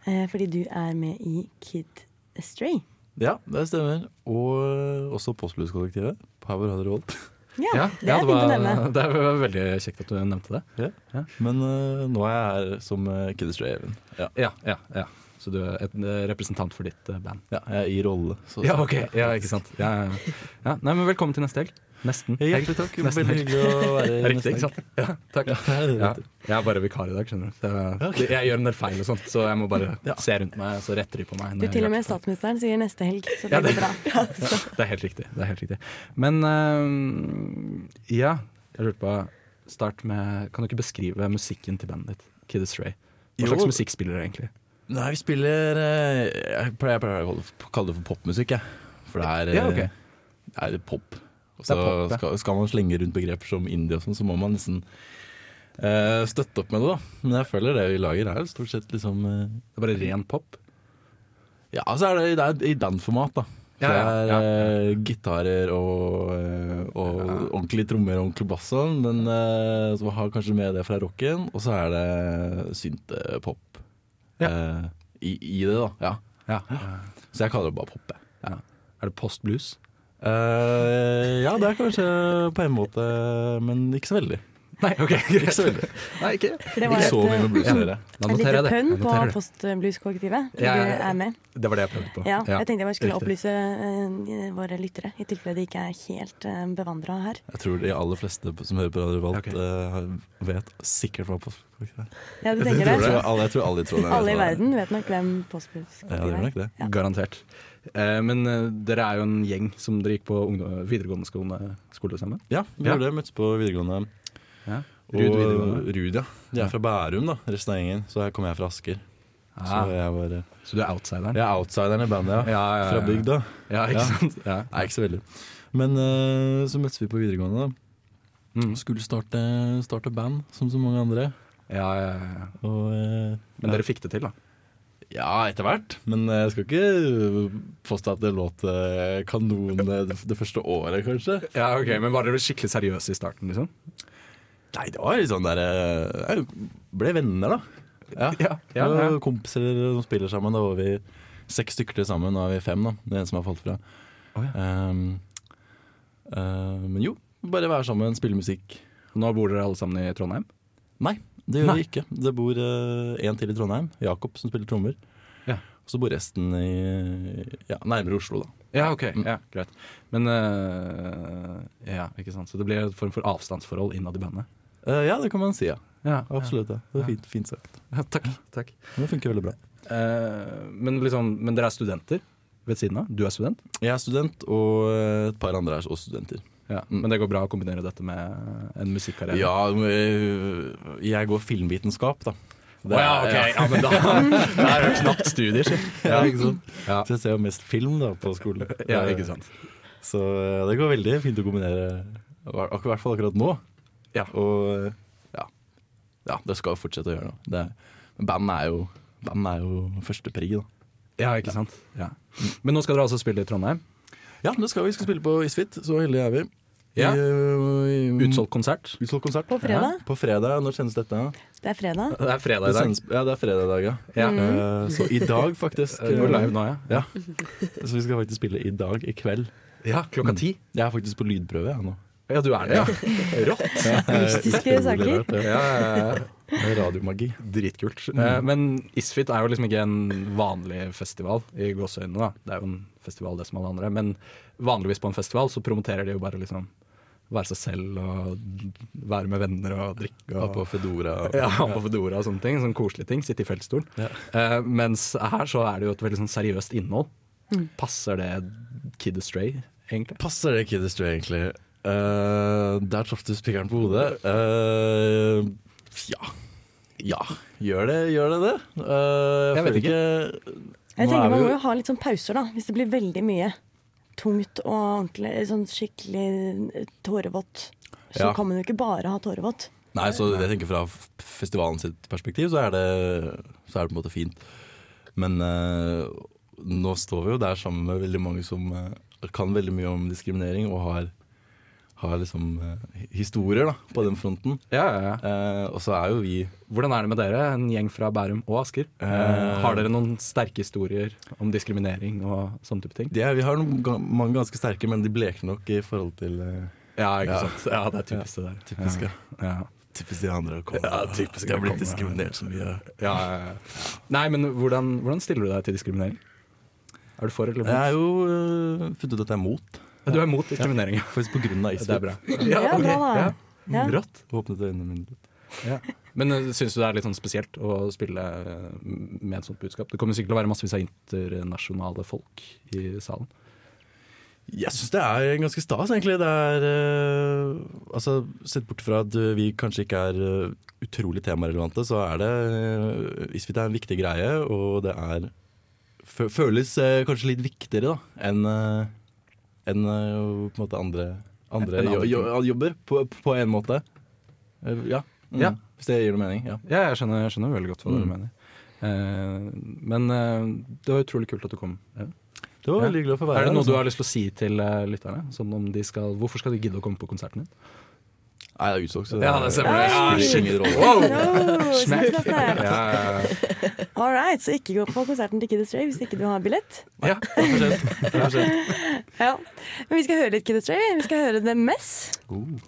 [SPEAKER 11] hei.
[SPEAKER 3] Eh, Fordi du er med i Kid Astray.
[SPEAKER 11] Ja, det stemmer. Og også Postblues-kollektivet. Power Radio Revolt.
[SPEAKER 3] Ja, det er fint å nevne.
[SPEAKER 5] det var veldig kjekt at du nevnte det.
[SPEAKER 11] Ja. Men øh, nå er jeg her som uh, Kid Astray Even. Ja.
[SPEAKER 5] ja, ja. Så du er et eh, representant for ditt eh, band.
[SPEAKER 11] Ja, jeg er i rolle. så-
[SPEAKER 5] Ja, ok. Ja, ikke sant. Ja, ja, ja. Ja, nei, men velkommen til neste helg. Nesten.
[SPEAKER 11] Hjertelig takk. Veldig hyggelig å være i
[SPEAKER 5] Riktig,
[SPEAKER 11] Nesten
[SPEAKER 5] ikke sant?
[SPEAKER 11] Helg.
[SPEAKER 5] Ja, takk. Ja, jeg er bare vikar i dag, skjønner du. Så jeg,
[SPEAKER 11] ok.
[SPEAKER 5] jeg gjør en del feil og sånt, så jeg må bare se rundt meg, så retter de på meg. når
[SPEAKER 3] Du,
[SPEAKER 5] jeg
[SPEAKER 3] til
[SPEAKER 5] gjør
[SPEAKER 3] og med statsministeren sier neste helg, så det
[SPEAKER 5] Ja,
[SPEAKER 3] blir
[SPEAKER 5] det-
[SPEAKER 3] bra.
[SPEAKER 5] Ja, det er helt riktig. Det er helt riktig. Men ehm, ja, jeg lurte på Start med Kan du ikke beskrive musikken til bandet ditt? Kid Astray. Hva
[SPEAKER 11] Jo.
[SPEAKER 5] slags musikk spiller dere egentlig?
[SPEAKER 11] Nei, vi spiller eh, Jeg pleier, jeg pleier å kalle det- kalle det for popmusikk, jeg. For det er, eh,
[SPEAKER 5] Ja, ok.
[SPEAKER 11] det er pop. Og
[SPEAKER 5] Det er
[SPEAKER 11] så
[SPEAKER 5] pop, ja.
[SPEAKER 11] skal, skal man slenge rundt begreper som indie og sånn, så må man nesten eh, støtte opp med det, da. Men jeg føler det vi lager er jo stort sett liksom Det
[SPEAKER 5] er bare ren pop?
[SPEAKER 11] Ja, altså er det, det er i bandformat, da. Så
[SPEAKER 5] Ja, ja,
[SPEAKER 11] det er eh, gitarer og, eh, og ordentlige trommer og ordentlig bass og sånn, men eh, så har kanskje med det fra rocken, og så er det syntepop eh, i, i det, da. Ja.
[SPEAKER 5] eh,
[SPEAKER 11] Så jeg kaller det bare pop. jeg.
[SPEAKER 5] Er det post-blues?
[SPEAKER 11] Eh, ja, det er kanskje på en måte, men ikke så veldig.
[SPEAKER 5] Nei, ok,
[SPEAKER 11] ikke så veldig.
[SPEAKER 5] Nei, ikke,
[SPEAKER 3] Det var eh,
[SPEAKER 11] ikke så
[SPEAKER 3] et,
[SPEAKER 11] mye med blues å gjøre.
[SPEAKER 5] Da
[SPEAKER 3] Et
[SPEAKER 5] noterer jeg
[SPEAKER 3] lite
[SPEAKER 5] det.
[SPEAKER 3] pønn
[SPEAKER 5] Da
[SPEAKER 3] på
[SPEAKER 5] noterer jeg det.
[SPEAKER 3] Postblues-kollektivet.
[SPEAKER 5] Ja,
[SPEAKER 3] Du er med.
[SPEAKER 5] Det var det jeg prøvde på.
[SPEAKER 3] Ja, jeg tenkte jeg bare skulle
[SPEAKER 5] riktig.
[SPEAKER 3] opplyse eh, våre lyttere, i tilfelle de ikke er helt uh, bevandra her.
[SPEAKER 11] Jeg tror de aller fleste som hører på Radio Revolt, eh, vet sikkert hva postfolk er.
[SPEAKER 3] Ja, du
[SPEAKER 11] Jeg
[SPEAKER 3] tenker
[SPEAKER 11] tror
[SPEAKER 3] det?
[SPEAKER 11] alle- Jeg tror alle i Trondheim
[SPEAKER 3] Alle i
[SPEAKER 11] vet hva det
[SPEAKER 3] verden vet nok hvem Postblues-kollektivet er.
[SPEAKER 5] Garantert. Eh, men eh, dere er jo en gjeng som dere gikk på ungdom, videregående skole, skole sammen?
[SPEAKER 11] Ja, vi gjorde det. Møttes på videregående.
[SPEAKER 5] Ja.
[SPEAKER 11] Og
[SPEAKER 5] Rud videregående.
[SPEAKER 11] Rud, ja. De er fra Bærum, da, resten av gjengen. Så her kommer jeg fra Asker.
[SPEAKER 5] Ah.
[SPEAKER 11] Så, jeg var,
[SPEAKER 5] så du er outsideren?
[SPEAKER 11] Jeg er outsideren i bandet, ja.
[SPEAKER 5] ja, ja.
[SPEAKER 11] Fra bygda.
[SPEAKER 5] Ja, ikke sant? Ja.
[SPEAKER 11] Nei, ikke så veldig. Men eh, så møttes vi på videregående, da.
[SPEAKER 5] Mm.
[SPEAKER 11] Skulle starte, starte band, som så mange andre. eh,
[SPEAKER 5] Ja, ja, ja. Men dere fikk det til, da?
[SPEAKER 11] Ja, etter hvert. Men eh, jeg skal ikke påstå at det låt eh, kanon eh, det, det første året, kanskje.
[SPEAKER 5] Ja, ok, Men var dere skikkelig seriøse i starten? liksom?
[SPEAKER 11] Nei, det var litt sånn der eh, Jeg ble venner, da. Ja,
[SPEAKER 5] ja, ja,
[SPEAKER 11] Det var
[SPEAKER 5] ja.
[SPEAKER 11] Eh, Kompiser som spiller sammen. Da var vi seks stykker til sammen. Nå er vi fem, da. Det er en som har falt fra. Ehm, eh, men jo, bare være sammen, spille musikk.
[SPEAKER 5] Nå bor dere alle sammen i Trondheim?
[SPEAKER 11] Nei, det gjør
[SPEAKER 5] Nei.
[SPEAKER 11] vi ikke. Det bor eh, en til i Trondheim, Jakob, som spiller trommer.
[SPEAKER 5] Ja.
[SPEAKER 11] Og så bor resten i, ja, nærmere Oslo, da.
[SPEAKER 5] Ja, ok. Ja, greit. Men eh, Ja, ikke sant. Så det blir en form for avstandsforhold innad i bandet?
[SPEAKER 11] Eh, ja, det kan man si, ja.
[SPEAKER 5] Ja,
[SPEAKER 11] Absolutt. Ja. Det
[SPEAKER 5] ja.
[SPEAKER 11] er fint, fint sagt.
[SPEAKER 5] Ja, takk. takk.
[SPEAKER 11] Det funker veldig bra.
[SPEAKER 5] Eh, men, liksom, men dere er studenter ved siden av? Du er student?
[SPEAKER 11] Jeg er student, og et par andre er også studenter.
[SPEAKER 5] Ja, Mm. Men det går bra å kombinere dette med en musikkarriere?
[SPEAKER 11] Ja, øh, jeg går filmvitenskap, da.
[SPEAKER 5] Å ja, ok. Ja, men da-
[SPEAKER 11] Det er jo knapt studier, så.
[SPEAKER 5] Ja,
[SPEAKER 11] Ja,
[SPEAKER 5] ikke sant?
[SPEAKER 11] Så jeg ser jo mest film da på skolen.
[SPEAKER 5] Ja, ikke sant.
[SPEAKER 11] Så øh, det går veldig fint å kombinere, hva- ak- i hvert fall akkurat nå. Og øh, ja. ja, det skal jo fortsette å gjøre det. det. men Band er jo, band er jo førsteprigg, da.
[SPEAKER 5] Ja, ikke sant. Ja. Men nå skal dere altså spille i Trondheim?
[SPEAKER 11] Ja, det skal vi. Vi skal spille på Isfit, så heldige er vi.
[SPEAKER 5] Ja.
[SPEAKER 11] I, øh, i-
[SPEAKER 5] Utsolgt konsert?
[SPEAKER 11] Utsolgt konsert
[SPEAKER 3] På fredag?
[SPEAKER 11] Ja, på fredag. Når sendes dette?
[SPEAKER 3] Det er fredag.
[SPEAKER 5] Det er fredag i dag.
[SPEAKER 11] sendes- Ja, det er fredag i dag, ja.
[SPEAKER 5] Ja.
[SPEAKER 11] Eh, så i dag, faktisk. Eh,
[SPEAKER 5] Det går live nå, ja.
[SPEAKER 11] Så vi skal faktisk spille i dag, i kveld.
[SPEAKER 5] Ja, Mm. klokka ti.
[SPEAKER 11] Jeg er faktisk på lydprøve, jeg nå.
[SPEAKER 5] Ja, du er det, ja. Rått.
[SPEAKER 11] Mystiske
[SPEAKER 5] Ja,
[SPEAKER 11] saker.
[SPEAKER 5] veldig rart, ja. Ja, ja, ja.
[SPEAKER 11] Radiomagi.
[SPEAKER 5] Dritkult. Eh, Men Isfit er jo liksom ikke en vanlig festival i gåseøynene. da. Det er jo en festival det som alle andre. Men vanligvis på en festival så promoterer de jo bare liksom være seg selv og være med venner og drikke. Og,
[SPEAKER 11] Ha på fedora.
[SPEAKER 5] Ja, ha på fedora og sånne ting. Sånne koselige ting. Sitte i feltstol. Eh, mens her så er det jo et veldig sånn seriøst innhold.
[SPEAKER 11] Mm.
[SPEAKER 5] Passer det Kid Astray, egentlig?
[SPEAKER 11] Passer det Kid Astray, egentlig? Eh, der traff du spikeren på hodet. Eh, ja. Ja, gjør det gjør det? det? Eh,
[SPEAKER 3] Jeg vet
[SPEAKER 11] føler ikke.
[SPEAKER 3] Jeg
[SPEAKER 11] Nå er
[SPEAKER 3] tenker
[SPEAKER 11] vi
[SPEAKER 3] Man
[SPEAKER 11] jo-
[SPEAKER 3] må jo ha litt sånn pauser, da. Hvis det blir veldig mye tungt og ordentlig, sånn skikkelig eh, tårevått, så
[SPEAKER 11] Ja.
[SPEAKER 3] kan man jo ikke bare ha tårevått.
[SPEAKER 11] Nei, så jeg tenker fra f- festivalen sitt perspektiv så er det, så er det på en måte fint. Men eh, nå står vi jo der sammen med veldig mange som eh, kan veldig mye om diskriminering og har, har liksom eh, hi- historier da, på den fronten.
[SPEAKER 5] Ja, ja, ja.
[SPEAKER 11] Eh, og så er jo vi
[SPEAKER 5] Hvordan er det med dere, en gjeng fra Bærum og Asker? Eh,
[SPEAKER 11] Eh,
[SPEAKER 5] har dere noen sterke historier om diskriminering og sånne type ting?
[SPEAKER 11] Det er- Vi har noen, ga- mange ganske sterke, men de blekner nok i forhold til eh,
[SPEAKER 5] Ja, ikke sant. Ja, det er typisk det der.
[SPEAKER 11] Typisk, ja.
[SPEAKER 5] Ja.
[SPEAKER 11] Typisk de andre å komme.
[SPEAKER 5] Ja, typisk
[SPEAKER 11] de har
[SPEAKER 5] å
[SPEAKER 11] blitt
[SPEAKER 5] komme.
[SPEAKER 11] diskriminert så mye.
[SPEAKER 5] Ja, ja, ja. Nei, men hvordan, hvordan stiller du deg til diskriminering? Er du for eller
[SPEAKER 11] Jeg
[SPEAKER 5] mot?
[SPEAKER 11] er jo øh, funnet ut at jeg er mot.
[SPEAKER 5] Du er mot diskriminering, ja.
[SPEAKER 11] Faktisk på grunn av
[SPEAKER 5] Det er bra.
[SPEAKER 3] Ja,
[SPEAKER 5] ok.
[SPEAKER 3] bra da.
[SPEAKER 5] Ja.
[SPEAKER 3] Ja.
[SPEAKER 11] Rått. Åpnet øynene mine litt.
[SPEAKER 5] Men uh, syns du det er litt sånn spesielt å spille eh, med et sånt budskap? Det kommer sikkert til å være massevis av internasjonale folk i salen.
[SPEAKER 11] Jeg syns det er ganske stas, egentlig. Det er eh, Altså, sett bort fra at eh, vi kanskje ikke er eh, utrolig temarelevante, så er det uh, Isfit er en viktig greie, og det er fø- Føles eh, kanskje litt viktigere, da, enn eh, enn, eh, på en måte andre, andre,
[SPEAKER 5] Enn andre
[SPEAKER 11] jo, jo, jobber, på, på en måte. Eh, ja. Mm.
[SPEAKER 5] Ja.
[SPEAKER 11] Hvis det gir noe mening. Ja.
[SPEAKER 5] Ja, jeg skjønner, jeg skjønner veldig godt hva
[SPEAKER 11] Mm.
[SPEAKER 5] du mener. Eh, men eh, det var utrolig kult at du kom. Ja.
[SPEAKER 11] Det var veldig hyggelig å få være
[SPEAKER 5] Er det
[SPEAKER 11] her,
[SPEAKER 5] noe
[SPEAKER 11] altså.
[SPEAKER 5] du har lyst til å si til eh, lytterne? Sånn om de skal, hvorfor skal de gidde å komme på konserten din?
[SPEAKER 11] Nei, det er utsolgt, så
[SPEAKER 5] Ja, det stemmer.
[SPEAKER 11] spiller
[SPEAKER 5] Ja,
[SPEAKER 11] ingen rolle.
[SPEAKER 3] Wow!
[SPEAKER 5] Smekk.
[SPEAKER 3] Smekk, smekk.
[SPEAKER 5] Ja, ja, ja.
[SPEAKER 3] All right, så ikke gå på konserten til Kid Astray hvis ikke du har billett.
[SPEAKER 5] Ja, det er for sent. Det er for sent.
[SPEAKER 3] Ja. Men vi skal høre litt Kid Astray. vi. Vi skal høre The Mess.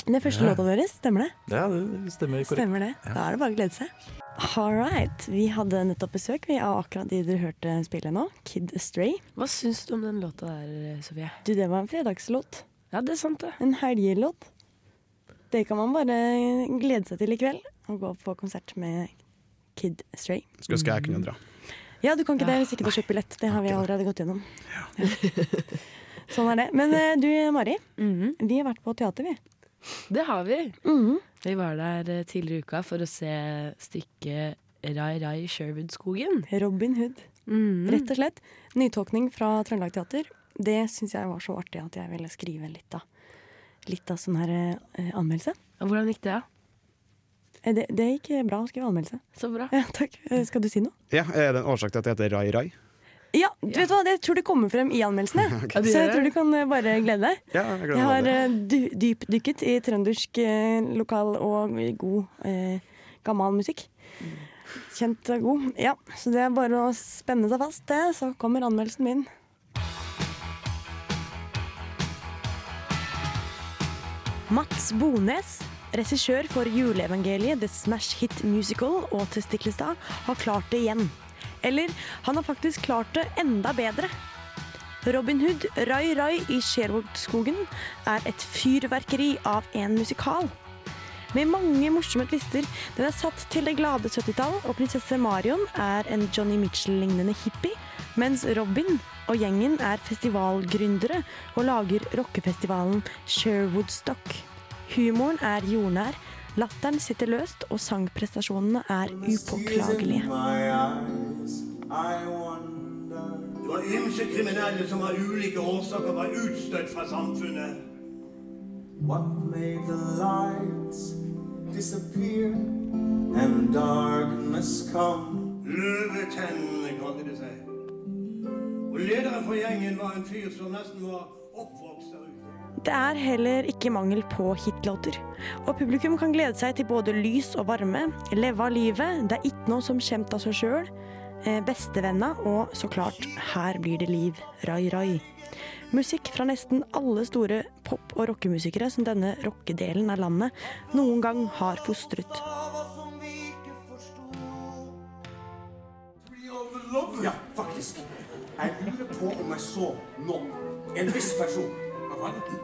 [SPEAKER 3] Den første låta deres, stemmer det?
[SPEAKER 11] Ja, det stemmer korrekt.
[SPEAKER 3] Stemmer det. Da er det bare å glede seg. All right. Vi hadde nettopp besøk vi av akkurat de dere hørte spille nå, Kid Astray.
[SPEAKER 6] Hva syns du om den låta der, eh, Sofie?
[SPEAKER 3] Du, det var en fredagslåt.
[SPEAKER 6] Ja, det er sant, det.
[SPEAKER 3] En helgelåt. Det kan man bare glede seg til i kveld. Å gå på konsert med Kid Astray.
[SPEAKER 4] Skulle ønske jeg kunne dra.
[SPEAKER 3] Ja, du kan ikke det hvis ikke du har kjøpt billett. Det har vi allerede gått gjennom. Ja. Sånn er det. Men eh, du, Mari. Vi har vært på teater, vi.
[SPEAKER 6] Det har vi. Vi var der eh, tidligere i uka for å se stykket Rai Rai i Sherwoodskogen.
[SPEAKER 3] Robin Hood.
[SPEAKER 6] Mm.
[SPEAKER 3] Rett og slett. Nytolkning fra Trøndelag Teater. Det syns jeg var så artig at jeg ville skrive litt av. Litt av sånn her eh, anmeldelse.
[SPEAKER 6] Hvordan gikk det, da?
[SPEAKER 3] Det, det gikk eh, bra å skrive anmeldelse.
[SPEAKER 6] Så bra.
[SPEAKER 3] Ja, takk. Eh, Skal du si noe?
[SPEAKER 4] Ja, Er det en årsak til at det heter Rai Rai?
[SPEAKER 3] Ja, du vet hva, jeg tror det kommer frem i anmeldelsene.
[SPEAKER 4] Ok. Ja, det
[SPEAKER 3] Så jeg
[SPEAKER 4] gjør det.
[SPEAKER 3] tror du kan eh, bare glede deg.
[SPEAKER 4] Ja, jeg
[SPEAKER 3] Jeg har eh, dy dypdykket i trøndersk eh, lokal og god eh, gammel musikk. Kjent og god. Ja, så det er bare å spenne seg fast, det. Så kommer anmeldelsen min. Mats Bones, regissør for juleevangeliet The Smash Hit Musical og Testiklestad, har klart det igjen. Eller, han har faktisk klart det enda bedre. Robin Hood Rai Rai i Sherwoodskogen er et fyrverkeri av en musikal. Med mange morsomme tvister. Den er satt til det glade 70-tall, og prinsesse Marion er en Johnny Mitchell-lignende hippie, mens Robin og gjengen er festivalgründere og lager rockefestivalen Sherwoodstock. Humoren er jordnær, latteren sitter løst, og sangprestasjonene er upåklagelige.
[SPEAKER 10] Det var ymse kriminelle som av ulike årsaker var utstøtt fra samfunnet. What made the lights disappear and darkness come? Løvetennene kalte det seg. Og lederen for gjengen var en fyr som nesten var oppvokst der ute.
[SPEAKER 3] Det er heller ikke mangel på hitlåter. Og publikum kan glede seg til både lys og varme, leve av livet, det er ikke noe som kommer av seg sjøl, bestevenner og så klart Her blir det liv, Rai Rai. Musikk fra nesten alle store pop- og rockemusikere som denne rockedelen av landet noen gang har fostret.
[SPEAKER 10] Ja, faktisk. Jeg lurer på om jeg så noen. En viss person. Hva var det?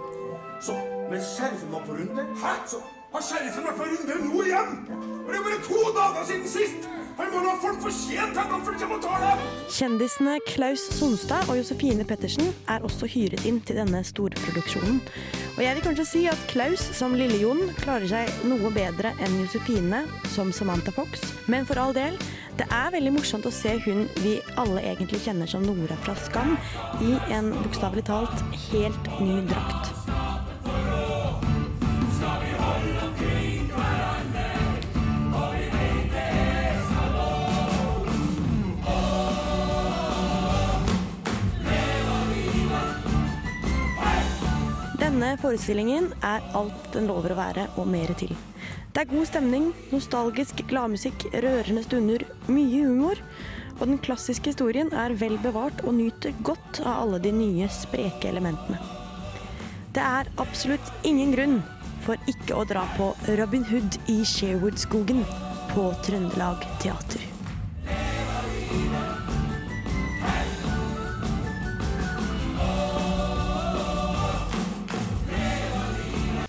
[SPEAKER 10] Så, men sheriffen var på runde. Hæ? Så har sheriffen vært på runde nå igjen? Og det er bare to dager siden sist! Han må nå ha folk fortjent at han flytter på tårnet!
[SPEAKER 3] Kjendisene Klaus Sonstad og Josefine Pettersen er også hyret inn til denne storproduksjonen. Og jeg vil kanskje si at Klaus som Lille-Jon klarer seg noe bedre enn Josefine som Samantha Fox. Men for all del, det er veldig morsomt å se hun vi alle egentlig kjenner som Nora fra Skam, i en bokstavelig talt helt ny drakt. Denne forestillingen er alt den lover å være, og mer til. Det er god stemning, nostalgisk gladmusikk, rørende stunder, mye humor. Og den klassiske historien er vel bevart og nyter godt av alle de nye, spreke elementene. Det er absolutt ingen grunn for ikke å dra på Robin Hood i Sherwoodskogen på Trøndelag Teater.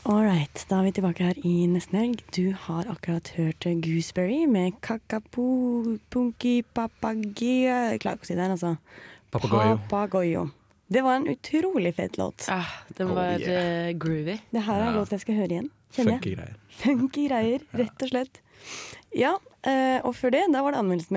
[SPEAKER 3] Alright, da er vi tilbake her i nesten helg. Du har akkurat hørt Gooseberry med kakapo, punki, papagia Klarer ikke å si det her, altså.
[SPEAKER 5] Papagoyo.
[SPEAKER 3] Papagoyo. Det var en utrolig fet låt.
[SPEAKER 6] den Oh, var, yeah. groovy.
[SPEAKER 3] Det her er en
[SPEAKER 6] Ja.
[SPEAKER 3] låt jeg skal høre igjen. Kjenner
[SPEAKER 6] Funky
[SPEAKER 3] jeg.
[SPEAKER 6] greier.
[SPEAKER 3] Funky greier, rett og slett. Ja, eh, og før det, da var det anmeldelsen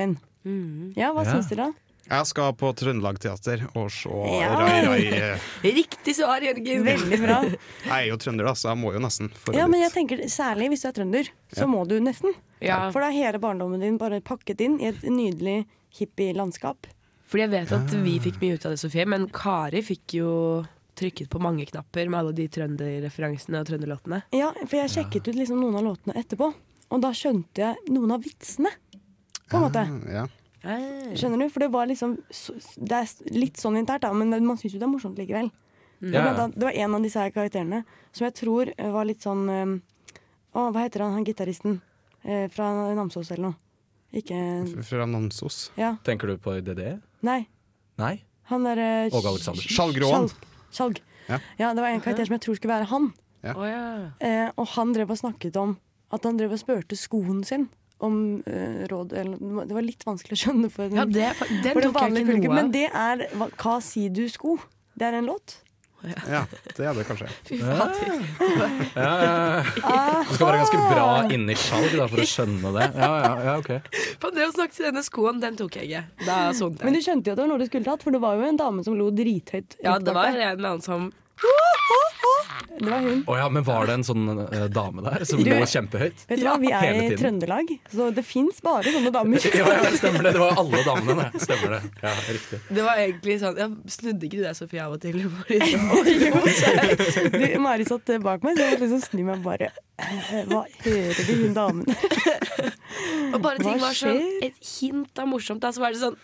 [SPEAKER 3] min. Ja, hva
[SPEAKER 4] Ja.
[SPEAKER 3] syns dere, da?
[SPEAKER 4] Jeg skal på Trøndelag Teater og se
[SPEAKER 3] eh, Ja.
[SPEAKER 4] Rai Rai.
[SPEAKER 6] Riktig svar, Jørgen!
[SPEAKER 3] Veldig bra.
[SPEAKER 4] Jeg er jo trønder, da, så jeg må jo nesten. For
[SPEAKER 3] Ja, men jeg tenker Særlig hvis du er trønder, så
[SPEAKER 4] Ja.
[SPEAKER 3] må du nesten.
[SPEAKER 6] Ja.
[SPEAKER 3] For da er hele barndommen din bare pakket inn i et nydelig hippielandskap.
[SPEAKER 6] Fordi jeg vet at vi fikk mye ut av det, Sofie, men Kari fikk jo trykket på mange knapper med alle de trønderreferansene og trønderlåtene.
[SPEAKER 3] Ja, for jeg sjekket ut liksom noen av låtene etterpå, og da skjønte jeg noen av vitsene. På en måte.
[SPEAKER 4] Ah, Ja.
[SPEAKER 6] Ah.
[SPEAKER 3] Skjønner du? For det var liksom så- Det er s- litt sånn internt, da, men man syns jo det er morsomt likevel.
[SPEAKER 12] Mm.
[SPEAKER 3] Det var
[SPEAKER 12] Ja, ja.
[SPEAKER 3] blant annet- Det var en av disse her karakterene som jeg tror eh, var litt sånn eh, Å, hva heter han, han gitaristen eh, fra Namsos eller noe? Ikke
[SPEAKER 4] Fra Namsos.
[SPEAKER 3] Ja.
[SPEAKER 5] Tenker du på E? DDE?
[SPEAKER 3] Nei.
[SPEAKER 5] Nei?
[SPEAKER 3] Han eh, derre
[SPEAKER 5] Åge Aleksander.
[SPEAKER 4] Skjalgråen.
[SPEAKER 3] Skjalg.
[SPEAKER 4] Ja.
[SPEAKER 3] Ja, det var en karakter som jeg tror skulle være han. Eh, og han drev og snakket om at han drev og spurte skoen sin om eh, råd eller, Det var litt vanskelig å skjønne for
[SPEAKER 6] Ja, det- for den
[SPEAKER 3] for
[SPEAKER 6] tok jeg
[SPEAKER 3] vanlige
[SPEAKER 6] ikke noe
[SPEAKER 3] publikum,
[SPEAKER 6] av.
[SPEAKER 3] Men det er hva, Hva sier du sko? Det er en låt.
[SPEAKER 4] Ja, det er det kanskje.
[SPEAKER 6] Fy fader.
[SPEAKER 5] Ja, ja, ja. Du skal være ganske bra inni skjalg da, for å skjønne det. Ja, ja, ja, ok.
[SPEAKER 6] På det å snakke til denne skoen, den tok jeg ikke. Da sånt
[SPEAKER 3] Men du skjønte jo at det var noe du skulle tatt, for det var jo en dame som lo drithøyt.
[SPEAKER 6] Ja,
[SPEAKER 3] bak
[SPEAKER 6] det var
[SPEAKER 3] deg.
[SPEAKER 6] en eller annen som
[SPEAKER 3] Det var hun.
[SPEAKER 5] Å ja, men var det en sånn eh, dame der som
[SPEAKER 3] Du-
[SPEAKER 5] lå kjempehøyt?
[SPEAKER 3] Vet du hva, vi
[SPEAKER 5] Ja,
[SPEAKER 3] er
[SPEAKER 5] hele
[SPEAKER 3] i
[SPEAKER 5] tiden.
[SPEAKER 3] Trøndelag, så det fins bare sånne damer.
[SPEAKER 5] Ja, ja, stemmer det. Det var alle damene, det. Stemmer det. Ja, riktig.
[SPEAKER 6] Det var egentlig sånn Jeg snudde ikke du deg, Sofie, av og til? sånn-
[SPEAKER 3] Du, Mari satt eh, bak meg, så jeg liksom snur meg og bare «Eh, Hva hører vi hun damen?
[SPEAKER 6] Og bare ting
[SPEAKER 3] Hva
[SPEAKER 6] var sånn
[SPEAKER 3] skjer?
[SPEAKER 6] Et hint av morsomt, da, så var det sånn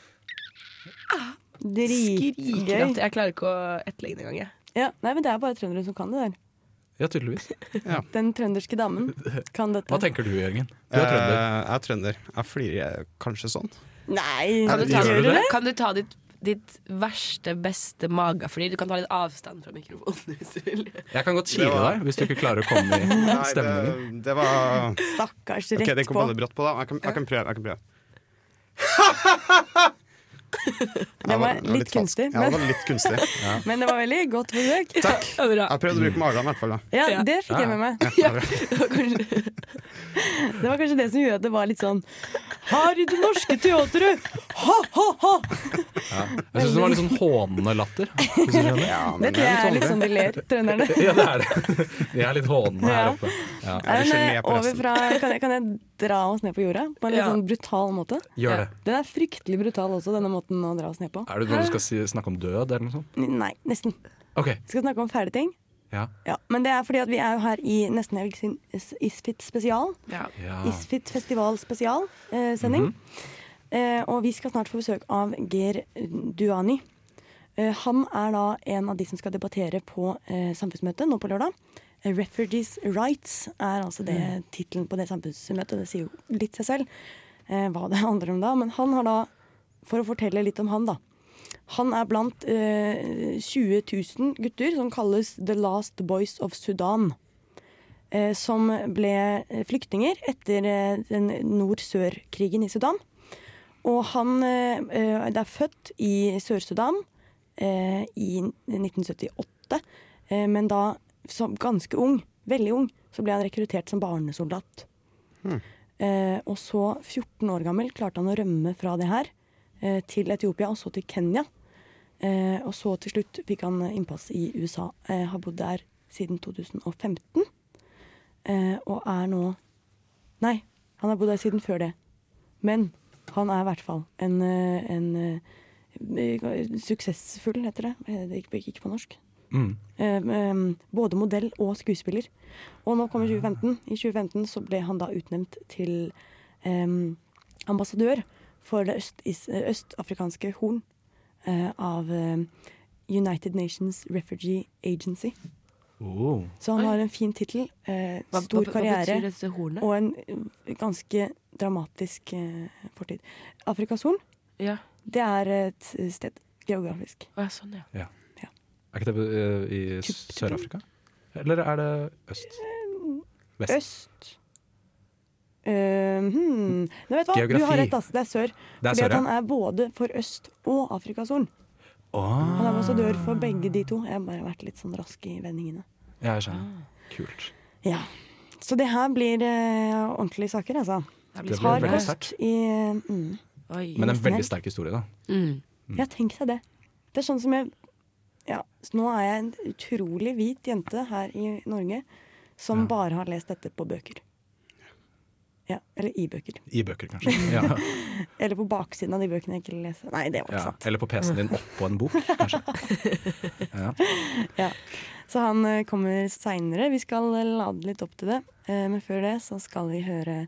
[SPEAKER 6] Skriker
[SPEAKER 3] Dritgøy.
[SPEAKER 6] at Jeg klarer ikke å etterlegge det engang, jeg.
[SPEAKER 3] Ja, nei, men det er bare trøndere som kan det der.
[SPEAKER 5] Ja, tydeligvis. Ja.
[SPEAKER 3] Den trønderske damen kan dette.
[SPEAKER 5] Hva tenker du, Jørgen?
[SPEAKER 4] Du er trønder. Eh, jeg er trønder. Jeg flirer eh, kanskje sånn.
[SPEAKER 3] Nei,
[SPEAKER 6] Kan
[SPEAKER 4] Gjør
[SPEAKER 6] du ta,
[SPEAKER 4] du det?
[SPEAKER 6] Kan du ta ditt, ditt verste, beste mageflir? Du kan ta litt avstand fra mikrofonen hvis du vil.
[SPEAKER 5] Jeg kan godt kile
[SPEAKER 4] Det var-
[SPEAKER 5] deg hvis du ikke klarer å komme i
[SPEAKER 4] Nei, det,
[SPEAKER 5] stemningen.
[SPEAKER 4] det var
[SPEAKER 3] Stakkars,
[SPEAKER 4] Ok,
[SPEAKER 3] rett
[SPEAKER 4] den kom
[SPEAKER 3] på.
[SPEAKER 4] veldig brått på, da. Jeg kan, jeg kan prøve. Jeg kan prøve.
[SPEAKER 3] Den var litt kunstig,
[SPEAKER 4] Men... Ja,
[SPEAKER 3] men-
[SPEAKER 4] det var litt kunstig.
[SPEAKER 3] Men det var veldig godt forsøk.
[SPEAKER 4] Takk. Jeg prøvde å bruke magen i hvert fall. da.
[SPEAKER 3] Ja, det fikk jeg med meg.
[SPEAKER 4] Ja, bra.
[SPEAKER 3] Det var kanskje det som gjorde at det var litt sånn Her i det norske teatret! Ha, ha, ha!
[SPEAKER 5] Ja. Jeg syns det var litt sånn hånende latter. hvis du skjønner.
[SPEAKER 3] Det tror jeg er litt sånn de ler, trønderne.
[SPEAKER 5] Ja, det er det. De er litt hånende her
[SPEAKER 3] Ja.
[SPEAKER 5] oppe. Ja.
[SPEAKER 3] Er den, eh, over fra, kan, jeg, kan jeg dra oss ned på jorda på en litt sånn brutal måte?
[SPEAKER 5] Gjør det.
[SPEAKER 3] Den er fryktelig brutal også, denne måten å dra oss ned på.
[SPEAKER 5] Er det noe du skal si, snakke om død eller noe sånt?
[SPEAKER 3] Nei, nesten.
[SPEAKER 5] Ok,
[SPEAKER 3] Vi skal snakke om fæle ting.
[SPEAKER 5] ja.
[SPEAKER 3] Ja, men det er fordi at vi er jo her i nesten helg sin Is- Isfit spesial.
[SPEAKER 5] Ja.
[SPEAKER 3] Isfit festival spesial eh, sending. eh, og vi skal snart få besøk av Ger Duani. Eh, han er da en av de som skal debattere på eh, samfunnsmøtet nå på lørdag. Eh, Refugees rights er altså det tittelen på det samfunnsmøtet. Det sier jo litt seg selv eh, hva det handler om da. Men han har da, for å fortelle litt om han, da. Han er blant eh, 20 000 gutter som kalles The Last Boys of Sudan. Eh, som ble eh, flyktninger etter eh, den nord-sør-krigen i Sudan. Og han eh, eh, det er født i Sør-Sudan eh, i 1978, eh, men da som ganske ung, veldig ung, så ble han rekruttert som barnesoldat. Eh, og så, 14 år gammel, klarte han å rømme fra det her eh, til Etiopia og så til Kenya. Eh, og så til slutt fikk han eh, innpass i USA. Eh, har bodd der siden 2015. Eh, og er nå Nei, han har bodd der siden før det. Men han er i hvert fall en, eh, en eh, suksessfull, heter det. Eh, Det gikk ikke på norsk.
[SPEAKER 5] Mm.
[SPEAKER 3] Eh, eh, både modell og skuespiller. Og nå kommer 2015. I 2015 så ble han da utnevnt til eh, ambassadør for det øst, is, østafrikanske horn eh, av eh, United Nations Refugee Agency.
[SPEAKER 5] Oh.
[SPEAKER 3] Så han har en fin tittel, eh,
[SPEAKER 6] Hva-
[SPEAKER 3] stor
[SPEAKER 6] hva- hva
[SPEAKER 3] karriere
[SPEAKER 6] betyr dette hornet?
[SPEAKER 3] og en eh, ganske dramatisk eh, fortid. Afrikas horn,
[SPEAKER 6] Ja.
[SPEAKER 3] det er et sted geografisk.
[SPEAKER 6] Å, ja, sånn, ja.
[SPEAKER 5] Er ikke det eh, i Sør-Afrika? Eller er det øst? Vest.
[SPEAKER 3] Øst. Eh, hmm. Nei, vet du hva? Du
[SPEAKER 5] Geografi.
[SPEAKER 3] har rett, ass. Det er
[SPEAKER 5] Det
[SPEAKER 3] sør.
[SPEAKER 5] er sånn-
[SPEAKER 3] Fordi
[SPEAKER 5] sør,
[SPEAKER 3] at
[SPEAKER 5] ja.
[SPEAKER 3] han er både for øst- og Afrikasolen. Han er ambassadør for begge de to. Jeg har bare vært litt sånn rask i vendingene.
[SPEAKER 5] Ja, jeg skjønner. Kult.
[SPEAKER 3] Ja. Så det her blir eh, ordentlige saker, altså.
[SPEAKER 5] Det blir
[SPEAKER 3] Hard
[SPEAKER 5] veldig
[SPEAKER 3] kost
[SPEAKER 5] sterkt.
[SPEAKER 3] I, mm.
[SPEAKER 5] Men det er en
[SPEAKER 3] Nesten
[SPEAKER 5] veldig
[SPEAKER 3] helg.
[SPEAKER 5] sterk historie, da. Mm.
[SPEAKER 3] Ja, tenk seg det. Det er sånn som jeg ja, så Nå er jeg en utrolig hvit jente her i Norge som bare har lest dette på bøker. Ja, Eller i bøker.
[SPEAKER 5] I bøker, kanskje. Ja.
[SPEAKER 3] Eller på baksiden av de bøkene jeg ikke leser. Nei, det var ikke
[SPEAKER 5] Ja. Eller på PC-en din oppå en bok, kanskje. Ja.
[SPEAKER 3] sant. Ja. Så han eh, kommer seinere. Vi skal eh, lade litt opp til det. Eh, Men før det så skal vi høre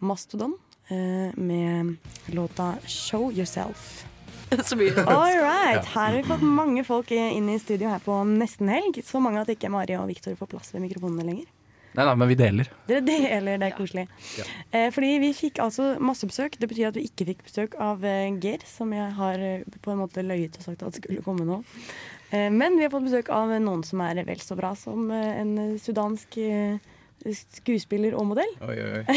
[SPEAKER 3] Mastodon eh, med låta 'Show Yourself'.
[SPEAKER 6] Så mye
[SPEAKER 3] All right. Her har vi fått mange folk i- inn i studio her på nesten helg. Så mange at ikke Mari og Viktor får plass ved mikrofonene lenger.
[SPEAKER 5] Nei, nei, men vi deler.
[SPEAKER 3] Dere deler, det er koselig. Eh, fordi vi fikk altså masse besøk. Det betyr at vi ikke fikk besøk av eh, Geir, som jeg har eh, på en måte løyet og sagt at skulle komme nå. Eh, men vi har fått besøk av noen som er vel så bra som eh, en sudansk eh, skuespiller og modell.
[SPEAKER 12] Oi, oi, oi.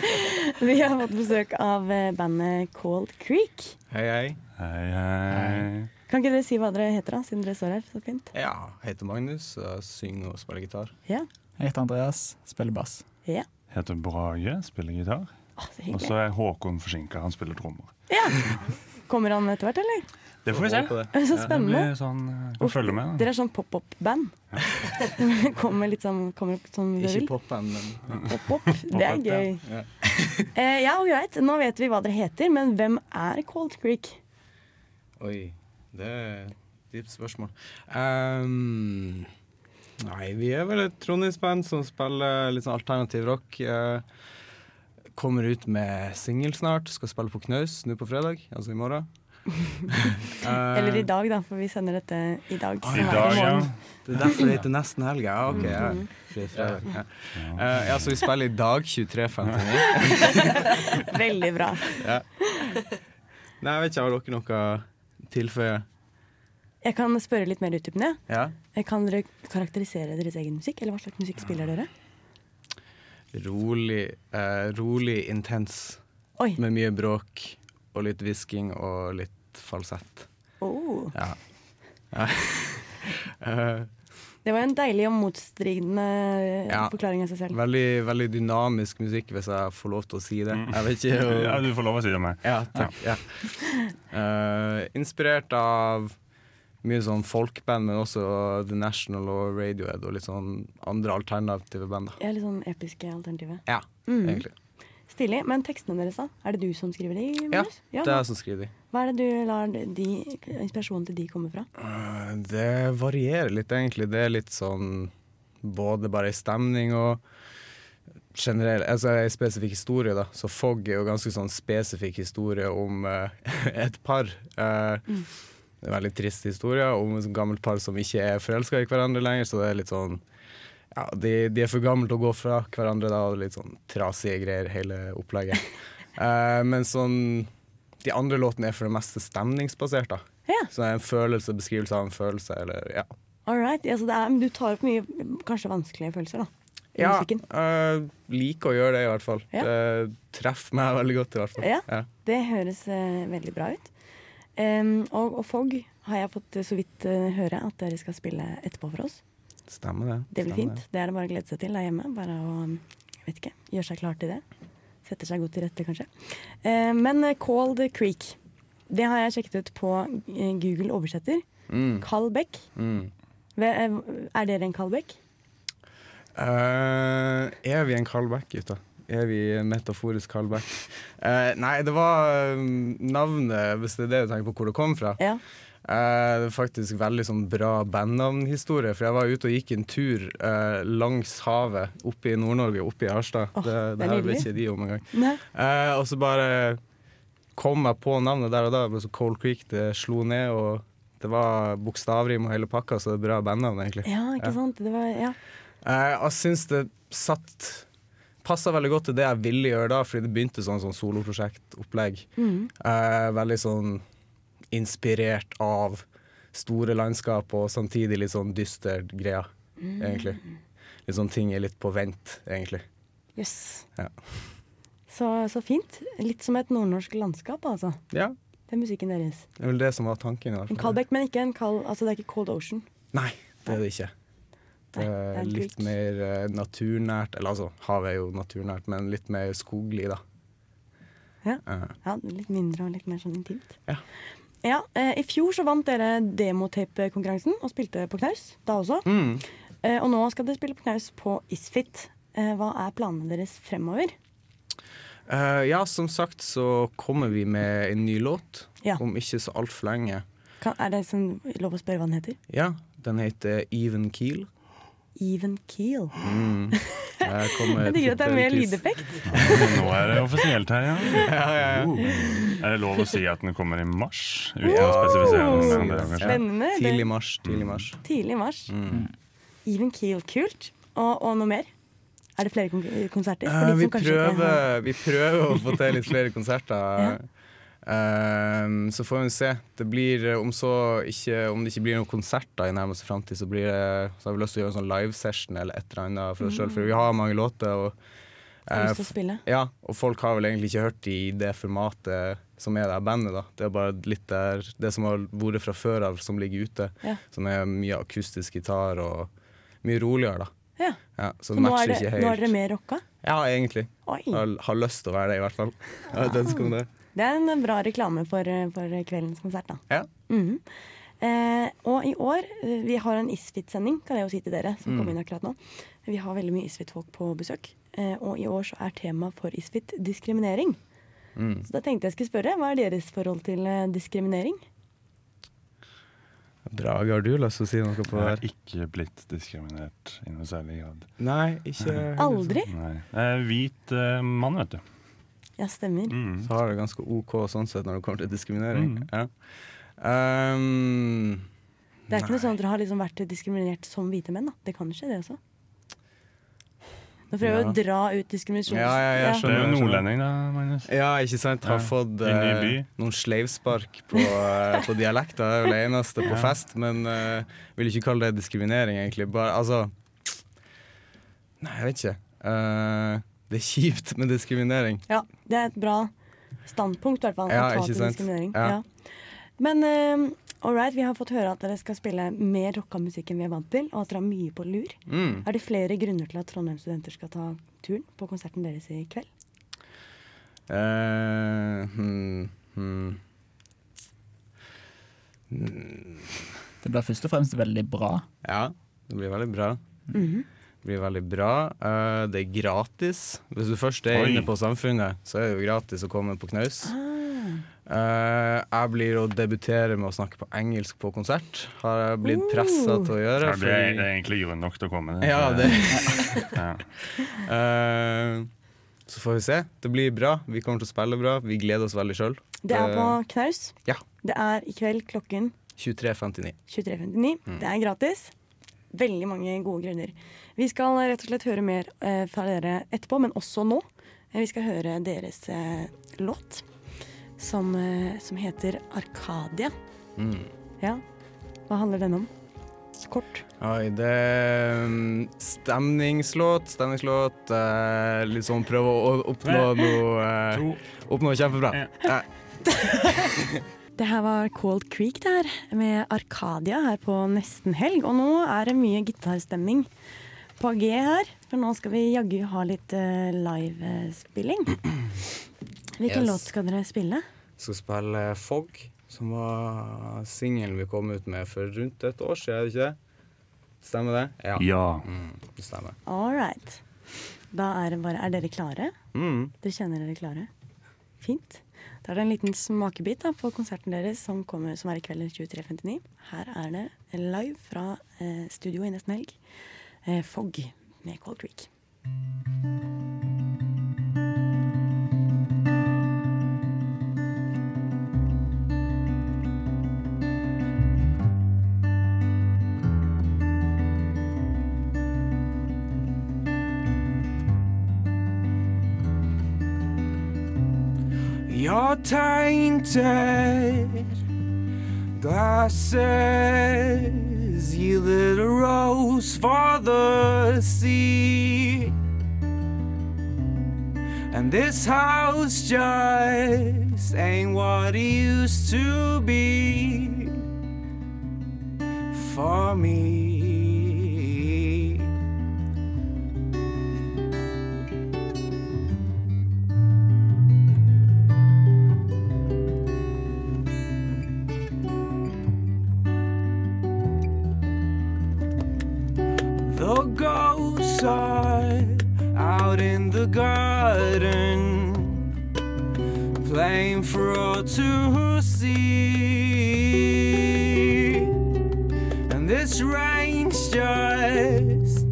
[SPEAKER 3] Vi har fått besøk av eh, bandet Cold Creek.
[SPEAKER 12] Hei, hei. Hei, hei.
[SPEAKER 3] Kan ikke dere si hva dere heter, da, siden dere står her så fint?
[SPEAKER 12] Ja, jeg heter Magnus, og synger og spiller gitar.
[SPEAKER 3] Ja.
[SPEAKER 13] Jeg heter Andreas, spiller bass.
[SPEAKER 3] Ja.
[SPEAKER 13] Heter Brage, spiller gitar.
[SPEAKER 3] så hyggelig.
[SPEAKER 13] Og så er Håkon forsinka, han spiller trommer.
[SPEAKER 3] Kommer han etter hvert, eller?
[SPEAKER 13] Det får vi se.
[SPEAKER 3] Så spennende.
[SPEAKER 13] Ja, det blir sånn, eh, kan følge med.
[SPEAKER 3] Dere er sånn pop-up-band. kommer litt sånn kommer opp som dere
[SPEAKER 12] Ikke
[SPEAKER 3] vil.
[SPEAKER 12] popband, men
[SPEAKER 3] Pop-up, det er gøy.
[SPEAKER 12] Ja.
[SPEAKER 3] Eh, ja, og greit, nå vet vi hva dere heter, men hvem er Cold Creek?
[SPEAKER 12] Oi, det er et dypt spørsmål. Ehm, nei, vi er vel et trondheimsband som spiller litt sånn alternativ rock. eh, kommer ut med singel snart, skal spille på Knaus nå på fredag, altså i morgen.
[SPEAKER 3] Eller i dag, da, for vi sender dette i dag.
[SPEAKER 12] Ah,
[SPEAKER 3] som er morgen.
[SPEAKER 12] Det er derfor det heter nesten helg. Ja, ok. Ja.
[SPEAKER 3] Mhm.
[SPEAKER 12] Det er fredag, ja. Eh, ja, så vi spiller i dag 23.59.
[SPEAKER 3] Veldig bra.
[SPEAKER 12] ja. Nei, jeg vet ikke, har dere noe å tilføye?
[SPEAKER 3] Jeg kan spørre litt mer utdypende.
[SPEAKER 12] Ja?
[SPEAKER 3] Eh, Kan dere karakterisere deres egen musikk, eller hva slags musikk spiller dere?
[SPEAKER 12] Rolig, eh, rolig intens.
[SPEAKER 3] Oi.
[SPEAKER 12] Med mye bråk og litt hvisking og litt falsett.
[SPEAKER 3] Oh.
[SPEAKER 12] Ja. ja. Eh,
[SPEAKER 3] Det var en deilig og motstridende eh,
[SPEAKER 12] Ja.
[SPEAKER 3] forklaring av seg selv.
[SPEAKER 12] veldig, veldig dynamisk musikk, hvis jeg får lov til å si det. Jeg vet ikke om-
[SPEAKER 13] Mm. Ja, du får lov å si det meg.
[SPEAKER 12] Ja, takk. Ja. Eh, inspirert av mye sånn folkband, men også The National og Radiohead og litt sånn andre alternative band. da.
[SPEAKER 3] Ja, litt sånn episke alternativet.
[SPEAKER 12] Ja,
[SPEAKER 3] Mm.
[SPEAKER 12] egentlig.
[SPEAKER 3] Stilig. Men tekstene deres, da? Er det du som skriver de?
[SPEAKER 12] Ja,
[SPEAKER 3] Magnus?
[SPEAKER 12] det er jeg som skriver de.
[SPEAKER 3] Hva er det du lar de, inspirasjonen til de komme fra?
[SPEAKER 12] Eh, Det varierer litt, egentlig. Det er litt sånn både bare ei stemning og generell Altså ei spesifikk historie, da. Så Fogg er jo ganske sånn spesifikk historie om eh, et par. Eh, det er en veldig trist historie om et gammelt par som ikke er forelska i hverandre lenger, så det er litt sånn ja, de, de er for gamle til å gå fra hverandre, da, og litt sånn trasige greier, hele opplegget. Eh, men sånn De andre låtene er for det meste stemningsbasert, da. Så det er en følelse, beskrivelse av en følelse, eller ja.
[SPEAKER 3] All right, ja, så det er, men Du tar opp mye kanskje vanskelige følelser, da. i
[SPEAKER 12] Ja,
[SPEAKER 3] musikken.
[SPEAKER 12] eh, liker å gjøre det, i hvert fall.
[SPEAKER 3] Ja.
[SPEAKER 12] Det treffer meg veldig godt, i hvert fall.
[SPEAKER 3] Ja. Det høres eh, veldig bra ut. Em, og, og Fogg har jeg fått eh, så vidt eh, høre at dere skal spille etterpå for oss.
[SPEAKER 12] Stemmer det.
[SPEAKER 3] Det blir
[SPEAKER 12] Stemmer
[SPEAKER 3] fint. Det er det bare å glede seg til der hjemme. Bare å mm, jeg vet ikke, gjøre seg klar til det. Sette seg godt til rette, kanskje. Eh, men eh, Cold Creek, det har jeg sjekket ut på eh, Google oversetter.
[SPEAKER 12] Mm.
[SPEAKER 3] Kald bekk.
[SPEAKER 12] Mm.
[SPEAKER 3] Ve- eh, Er dere en kald bekk?
[SPEAKER 12] Eh, er vi en callback, gutta? Er vi en metaforisk callback? Eh, nei, det var eh, navnet, hvis det er det du tenker på hvor det kom fra. Eh, det er faktisk veldig sånn bra bandnavnhistorie, for jeg var ute og gikk en tur eh, langs havet oppe i Nord-Norge, oppe i Harstad. det, det,
[SPEAKER 14] det er
[SPEAKER 12] her ble
[SPEAKER 14] nydelig.
[SPEAKER 12] ikke de om engang.
[SPEAKER 14] Nei.
[SPEAKER 12] Eh, og så bare kom jeg på navnet der og da. Bare så Cold Creek, det slo ned, og det var bokstavrim og hele pakka, så det er bra bandnavn, egentlig.
[SPEAKER 3] Ja, ikke sant? Det var, ja.
[SPEAKER 12] Eh, jeg syns det satt Passa veldig godt til det jeg ville gjøre da, fordi det begynte sånn, sånn soloprosjektopplegg.
[SPEAKER 3] Mhm.
[SPEAKER 12] Eh, veldig sånn inspirert av store landskap og samtidig litt sånn dyster greia,
[SPEAKER 3] Mm.
[SPEAKER 12] egentlig. litt sånn ting er litt på vent, egentlig.
[SPEAKER 3] Jøss.
[SPEAKER 12] Ja.
[SPEAKER 3] Så, så fint. Litt som et nordnorsk landskap, altså.
[SPEAKER 12] ja.
[SPEAKER 3] Det er musikken deres.
[SPEAKER 12] Det er vel det som var tanken. i hvert
[SPEAKER 3] En
[SPEAKER 12] fall.
[SPEAKER 3] callback, men ikke en kald Altså, det er ikke Cold Ocean.
[SPEAKER 12] Nei, det er det ikke. Det
[SPEAKER 3] det er
[SPEAKER 12] er litt
[SPEAKER 3] kult.
[SPEAKER 12] mer eh, naturnært. Eller altså, havet er jo naturnært, men litt mer skoglig, da.
[SPEAKER 3] Ja.
[SPEAKER 12] Eh,
[SPEAKER 3] ja litt mindre og litt mer sånn intimt.
[SPEAKER 12] Ja.
[SPEAKER 3] Ja, eh, I fjor så vant dere demotape-konkurransen og spilte på knaus da også.
[SPEAKER 12] Mm.
[SPEAKER 3] Eh, og nå skal dere spille på knaus på Isfit. Eh, hva er planene deres fremover?
[SPEAKER 12] Eh, ja, som sagt så kommer vi med en ny låt
[SPEAKER 3] Ja.
[SPEAKER 12] om ikke så altfor lenge.
[SPEAKER 3] Kan, er det sånn, lov å spørre hva den heter?
[SPEAKER 12] Ja, den heter Even Keel.
[SPEAKER 3] Even Keel.
[SPEAKER 12] Mm. Jeg
[SPEAKER 3] Jeg digger at det er mer lydeffekt.
[SPEAKER 13] Nå er det offisielt her, ja.
[SPEAKER 12] Uh.
[SPEAKER 13] Er det lov å si at den kommer i mars? Uten
[SPEAKER 3] Wow.
[SPEAKER 13] å spesifisere noe mer enn det, kanskje?
[SPEAKER 3] Spennende. Det- Tidlig
[SPEAKER 12] mars. Tidlig mars.
[SPEAKER 3] Tidlig i mars.
[SPEAKER 12] Mm.
[SPEAKER 3] Even Keel, kult. Og, og noe mer? Er det flere kon konserter? For de
[SPEAKER 12] Eh, vi,
[SPEAKER 3] som kanskje ikke har-
[SPEAKER 12] prøver, vi prøver å få til litt flere konserter. Ehm, så får vi se. Det blir, eh, om, så ikke, om det ikke blir noen konserter i nærmeste framtid, så, blir det- så har vi lyst til å gjøre en sånn livesession eller et eller annet for oss sjøl. For vi har mange låter. Og,
[SPEAKER 3] Har
[SPEAKER 12] eh,
[SPEAKER 3] lyst til å spille.
[SPEAKER 12] Ja, og folk har vel egentlig ikke hørt i det formatet som er der bandet. da Det er bare litt der Det som har vært fra før av, som ligger ute.
[SPEAKER 3] Ja.
[SPEAKER 12] Som er mye akustisk gitar og mye roligere, da.
[SPEAKER 3] Ja.
[SPEAKER 12] Ja, så
[SPEAKER 3] Så
[SPEAKER 12] det
[SPEAKER 3] nå
[SPEAKER 12] matcher
[SPEAKER 3] er, det,
[SPEAKER 12] ikke helt.
[SPEAKER 3] nå er dere mer rocka?
[SPEAKER 12] Ja, egentlig. Har, har lyst til å være det, i hvert fall. Jeg har et ønske om det.
[SPEAKER 3] Det er en bra reklame for, eh, for kveldens konsert, da.
[SPEAKER 12] Ja.
[SPEAKER 3] Mhm. Eh, og i år, eh, vi har en Isfit-sending, kan jeg jo si til dere som
[SPEAKER 14] Mm.
[SPEAKER 3] kom inn akkurat nå. Vi har veldig mye Isfit-folk på besøk. Eh, og i år så er tema for Isfit diskriminering.
[SPEAKER 12] Mm.
[SPEAKER 3] Så da tenkte jeg skulle spørre, hva er deres forhold til eh, diskriminering?
[SPEAKER 12] Brage, har du lyst til å si noe på
[SPEAKER 13] Jeg
[SPEAKER 12] det
[SPEAKER 13] har
[SPEAKER 12] her?
[SPEAKER 13] ikke blitt diskriminert i noe særlig grad.
[SPEAKER 12] Nei, ikke
[SPEAKER 3] Aldri?
[SPEAKER 12] sånn-
[SPEAKER 13] Nei. Eh, hvit eh, mann, vet du.
[SPEAKER 3] Ja, stemmer.
[SPEAKER 12] Så har det ganske OK sånn sett når det kommer til diskriminering. Ja. Ehm,
[SPEAKER 3] Det er ikke noe sånn at dere har liksom vært diskriminert som hvite menn, da. Det kan skje, det også. Nå prøver jeg å
[SPEAKER 12] Ja.
[SPEAKER 3] dra ut diskriminasjon.
[SPEAKER 12] ja, ja, jeg skjønner.
[SPEAKER 13] Det er jo
[SPEAKER 12] jeg skjønner.
[SPEAKER 13] nordlending, da, Magnus.
[SPEAKER 12] Ja, ikke sant. Har
[SPEAKER 13] Ja.
[SPEAKER 12] fått
[SPEAKER 13] I ny by.
[SPEAKER 12] eh, noen sleivspark på, eh, på dialekter. Det er vel det eneste på
[SPEAKER 13] Ja.
[SPEAKER 12] fest, men eh, vil ikke kalle det diskriminering, egentlig. Bare, altså Nei, jeg vet ikke. Eh, det er kjipt med diskriminering.
[SPEAKER 3] Ja, det er et bra standpunkt, i hvert fall.
[SPEAKER 12] Ja,
[SPEAKER 3] å ta
[SPEAKER 12] ikke
[SPEAKER 3] til
[SPEAKER 12] sant?
[SPEAKER 3] diskriminering.
[SPEAKER 12] Ja.
[SPEAKER 3] Ja. Men eh, all right, vi har fått høre at dere skal spille mer rocka musikk enn vi er vant til, og at dere har mye på lur.
[SPEAKER 12] Mm.
[SPEAKER 3] Er det flere grunner til at Trondheim studenter skal ta turen på konserten deres i kveld?
[SPEAKER 12] Eh, hmm, hmm. Mm,
[SPEAKER 15] Det blir først og fremst veldig bra.
[SPEAKER 12] Ja, det blir veldig bra.
[SPEAKER 15] Mhm.
[SPEAKER 12] Det blir veldig bra. Eh, det er gratis. Hvis du først er
[SPEAKER 15] Oi.
[SPEAKER 12] inne på Samfunnet, så er det jo gratis å komme på knaus. Eh, jeg blir å debutere med å snakke på engelsk på konsert, har jeg blitt pressa til å gjøre.
[SPEAKER 13] Ja, det, er,
[SPEAKER 12] fordi-
[SPEAKER 13] det er egentlig grunn nok til å komme.
[SPEAKER 12] Ja, det
[SPEAKER 13] ja.
[SPEAKER 12] Eh, Så får vi se. Det blir bra. Vi kommer til å spille bra. Vi gleder oss veldig sjøl.
[SPEAKER 3] Det er på knaus.
[SPEAKER 12] Ja.
[SPEAKER 3] Det er i kveld klokken
[SPEAKER 12] 23.59.
[SPEAKER 3] 23.59.
[SPEAKER 12] Mm.
[SPEAKER 3] Det er gratis. Veldig mange gode grunner. Vi skal rett og slett høre mer eh, fra dere etterpå, men også nå. Eh, Vi skal høre deres eh, låt som, eh, som heter Arkadia.
[SPEAKER 12] Mm.
[SPEAKER 3] Ja. Hva handler den om? Kort.
[SPEAKER 12] Oi, det er mm, stemningslåt, stemningslåt. eh, litt sånn prøve å oppnå noe eh, Oppnå kjempebra. Eh,
[SPEAKER 3] Det her var Cold Creek det her, med Arkadia her på nesten helg. Og nå er det mye gitarstemning på G her, for nå skal vi jaggu ha litt eh, livespilling. Hvilken
[SPEAKER 12] Yes.
[SPEAKER 3] låt skal dere spille?
[SPEAKER 12] skal spille Fogg, som var singelen vi kom ut med for rundt et år siden, er det ikke det? Stemmer det?
[SPEAKER 13] Ja.
[SPEAKER 12] Mm, det stemmer.
[SPEAKER 3] All right. Da er det bare Er dere klare?
[SPEAKER 12] Mm.
[SPEAKER 3] Dere kjenner dere klare? Fint. Da er det en liten smakebit da, på konserten deres som, kommer, som er i kveld 23.59. Her er det live fra eh, studio i nesten helg. Eh, Fogg med Cold Creek.
[SPEAKER 16] You're tainted glasses,
[SPEAKER 14] yielded a rose for the sea. And this house just ain't what it used to be for me. The ghosts are out in the garden, playing for all to see. And this rain's just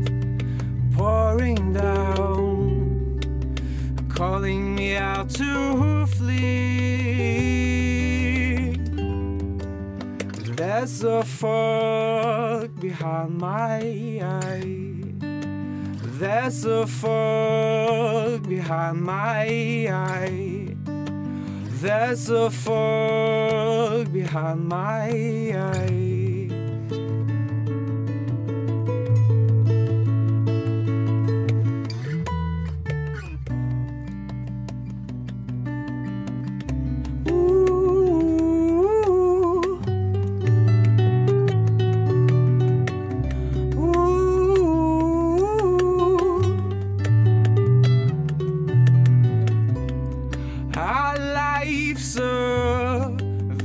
[SPEAKER 14] pouring down, calling me out to flee. There's a fog behind my eye. There's a fog behind my eye. There's a fog behind my eye. Our life's a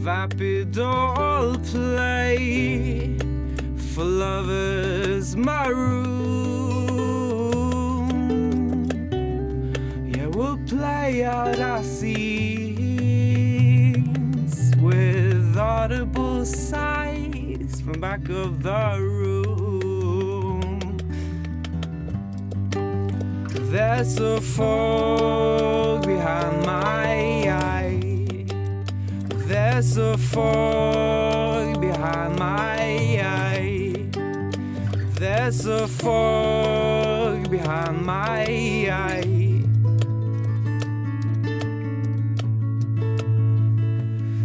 [SPEAKER 14] vapid doll play for lovers maroon. Yeah, we'll play out our scenes with audible sighs from back of the room. There's a fog behind my eye. There's a fog behind my eye. There's a fog behind my eye.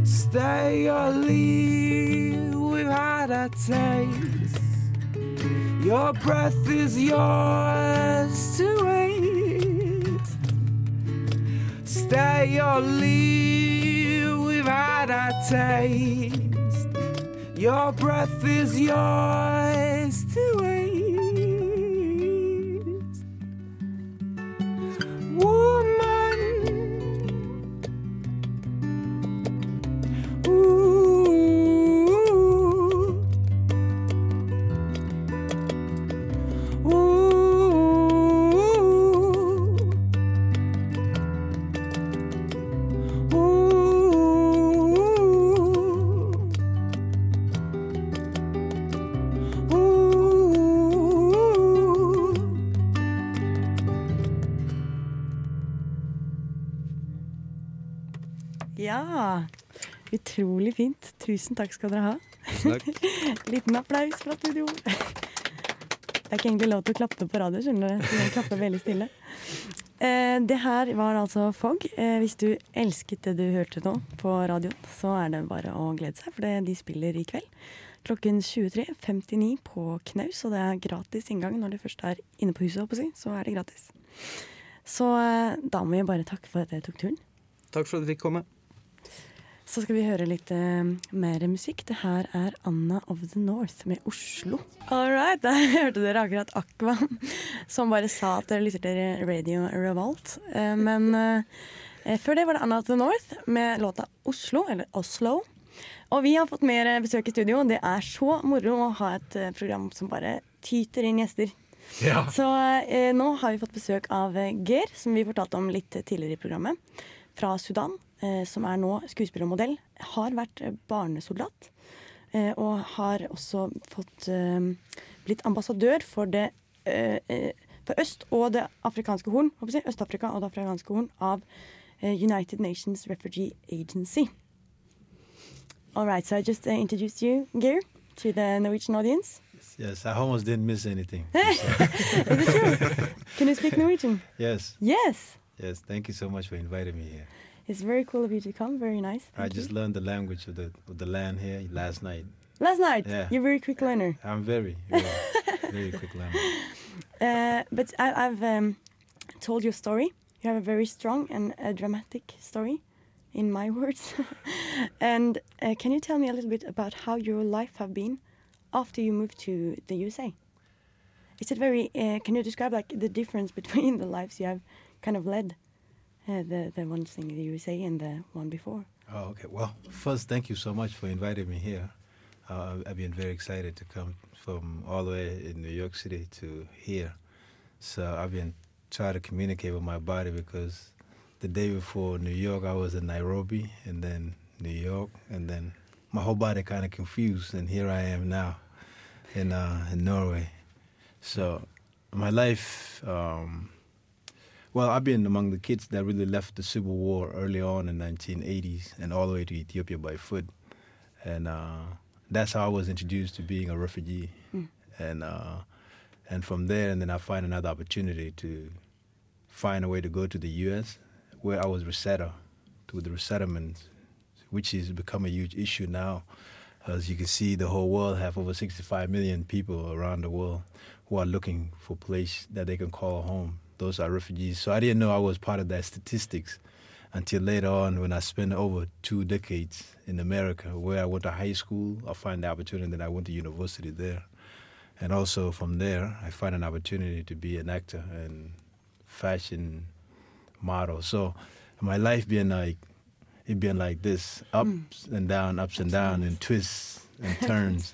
[SPEAKER 14] Stay or leave, we've had our taste. Your breath is yours to waste. Stay or leave, we've had our taste. Your breath is yours to waste. Woman. Ooh. Ooh. Ooh. Ooh.
[SPEAKER 3] Ja. Utrolig fint. Tusen takk skal dere ha.
[SPEAKER 2] Tusen takk.
[SPEAKER 3] Liten applaus fra studio. Det er ikke egentlig lov til å klappe på radio, skjønner du. Så jeg klapper veldig stille. Eh, det her var altså Fogg. Eh, hvis du elsket det du hørte nå på radioen, så er det bare å glede seg, for det de spiller i kveld. Klokken 23.59 på Knaus, og det er gratis inngang når du først er inne på huset, håper jeg, å si, så er det gratis. Så eh, da må jeg bare takke for at jeg tok turen.
[SPEAKER 12] Takk for at jeg fikk komme.
[SPEAKER 3] Så skal vi høre litt eh, mer musikk. Det her er Anna of the North med Oslo. All right, der hørte dere akkurat Aqua, som bare sa at dere lytter til Radio Revolt. Eh, men eh, før det var det Anna of the North med låta Oslo, eller Oslo. Og vi har fått mer eh, besøk i studio. Det er så moro å ha et eh, program som bare tyter inn gjester.
[SPEAKER 16] Ja.
[SPEAKER 3] Så eh, nå har vi fått besøk av eh, Ger, som vi fortalte om litt tidligere i programmet. Fra Sudan, eh, som er nå skuespiller og modell. Har vært eh, barnesoldat. Eh, og har også fått eh, blitt ambassadør for det eh, eh, for øst og det afrikanske horn, håper jeg, å si, Øst-Afrika og det afrikanske horn av eh, United Nations Refugee Agency. All right, so I just uh, introduced you, Geir, to the Norwegian audience.
[SPEAKER 17] Yes, I almost didn't miss anything.
[SPEAKER 3] Can you speak Norwegian?
[SPEAKER 17] Yes,
[SPEAKER 3] Yes,
[SPEAKER 17] yes. Thank you so much for inviting me here.
[SPEAKER 3] it's very cool of you to come. Very nice.
[SPEAKER 17] I
[SPEAKER 3] Thank you.
[SPEAKER 17] just learned the language of the of the land here last night.
[SPEAKER 3] Last night.
[SPEAKER 17] Yeah.
[SPEAKER 3] You're a very quick learner.
[SPEAKER 17] I'm very, very, very quick learner.
[SPEAKER 3] Uh, but I, I've um, told your story. You have a very strong and uh, dramatic story, in my words. and uh, can you tell me a little bit about how your life have been after you moved to the USA? Is it very? Uh, can you describe like the difference between the lives you have kind of led, uh, the the one thing in the USA and the one before?
[SPEAKER 17] Oh, okay. Well, first, thank you so much for inviting me here. Uh, I've been very excited to come from all the way in New York City to here. So I've been trying to communicate with my body because the day before New York, I was in Nairobi and then New York, and then my whole body kind of confused, and here I am now in uh, in Norway. So my life. Um, well, I've been among the kids that really left the civil war early on in 1980s and all the way to Ethiopia by foot, and uh, that's how I was introduced to being a refugee,
[SPEAKER 16] Mm.
[SPEAKER 17] and uh, and from there, and then I find another opportunity to find a way to go to the U.S., where I was resetter, to the resettlement, which has become a huge issue now. As you can see, the whole world have over 65 million people around the world who are looking for place that they can call home. Those are refugees. So I didn't know I was part of that statistics until later on when I spent over two decades in America, where I went to high school. I find the opportunity that I went to university there, and also from there I find an opportunity to be an actor and fashion model. So my life being like it being like this, ups and down, Hmm. ups and down, and twists and turns,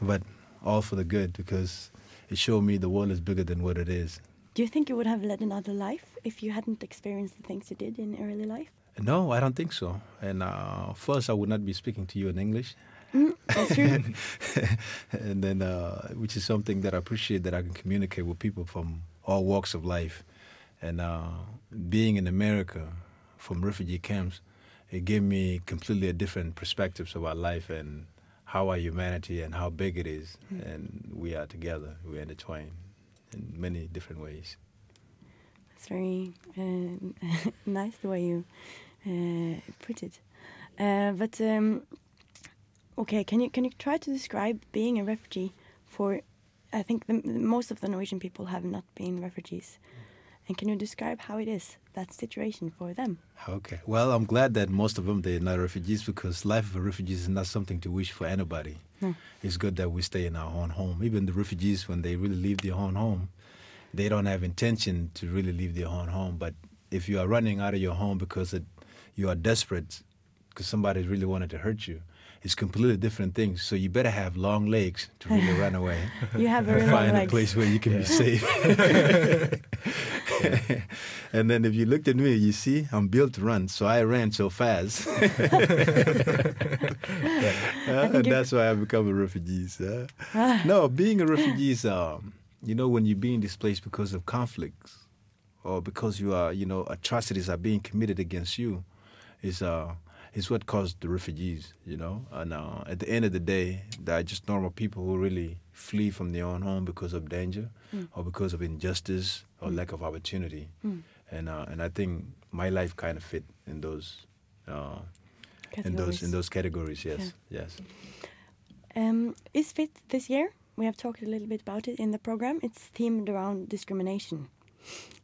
[SPEAKER 17] but all for the good because it showed me the world is bigger than what it is.
[SPEAKER 3] Do you think you would have led another life if you hadn't experienced the things you did in early life?
[SPEAKER 17] No, I don't think so. And uh, first, I would not be speaking to you in English. and then, uh, which is something that I appreciate that I can communicate with people from all walks of life. And uh, being in America from refugee camps, it gave me completely a different perspectives about life and how our humanity and how big it is.
[SPEAKER 3] Mm.
[SPEAKER 17] And we are together, we are intertwined in many different ways.
[SPEAKER 3] It's very uh, nice the way you uh, put it. Uh, but um, okay, can you can you try to describe being a refugee for? I think the, most of the Norwegian people have not been refugees, and can you describe how it is that situation for them?
[SPEAKER 17] Okay. Well, I'm glad that most of them they're not refugees because life of a refugee is not something to wish for anybody.
[SPEAKER 3] No.
[SPEAKER 17] It's good that we stay in our own home. Even the refugees, when they really leave their own home, they don't have intention to really leave their own home. But if you are running out of your home because it, you are desperate, because somebody really wanted to hurt you, it's completely different things. So you better have long legs to really run away.
[SPEAKER 3] You have very
[SPEAKER 17] And
[SPEAKER 3] long
[SPEAKER 17] find a
[SPEAKER 3] legs.
[SPEAKER 17] place where you can be safe. and then if you looked at me, you see, I'm built to run, so I ran so fast. Uh, and that's why I become a refugee. sir. no, being a refugee is, um, you know, when you're being displaced because of conflicts or because you are, you know, atrocities are being committed against you, is uh, is what caused the refugees, you know. And uh, at the end of the day, they are just normal people who really flee from their own home because of danger,
[SPEAKER 16] Mm.
[SPEAKER 17] or because of injustice or lack of opportunity.
[SPEAKER 16] Mm.
[SPEAKER 17] And uh, and I think my life kind of fit in those. Uh, in those in
[SPEAKER 3] Categories.
[SPEAKER 17] those categories, yes, yes.
[SPEAKER 3] Um, is fit this year? We have talked a little bit about it in the program. It's themed around discrimination,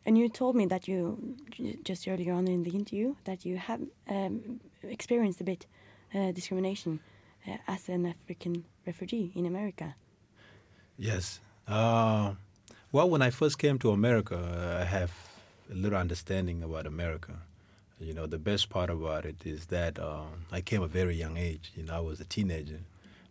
[SPEAKER 3] and you told me that you j- just earlier on in the interview that you have um, experienced a bit uh, discrimination uh, as an African refugee in America.
[SPEAKER 17] Yes. Uh, well, when I first came to America, uh, I have a little understanding about America. You know, the best part about it is that um, I came at a very young age. You know, I was a teenager,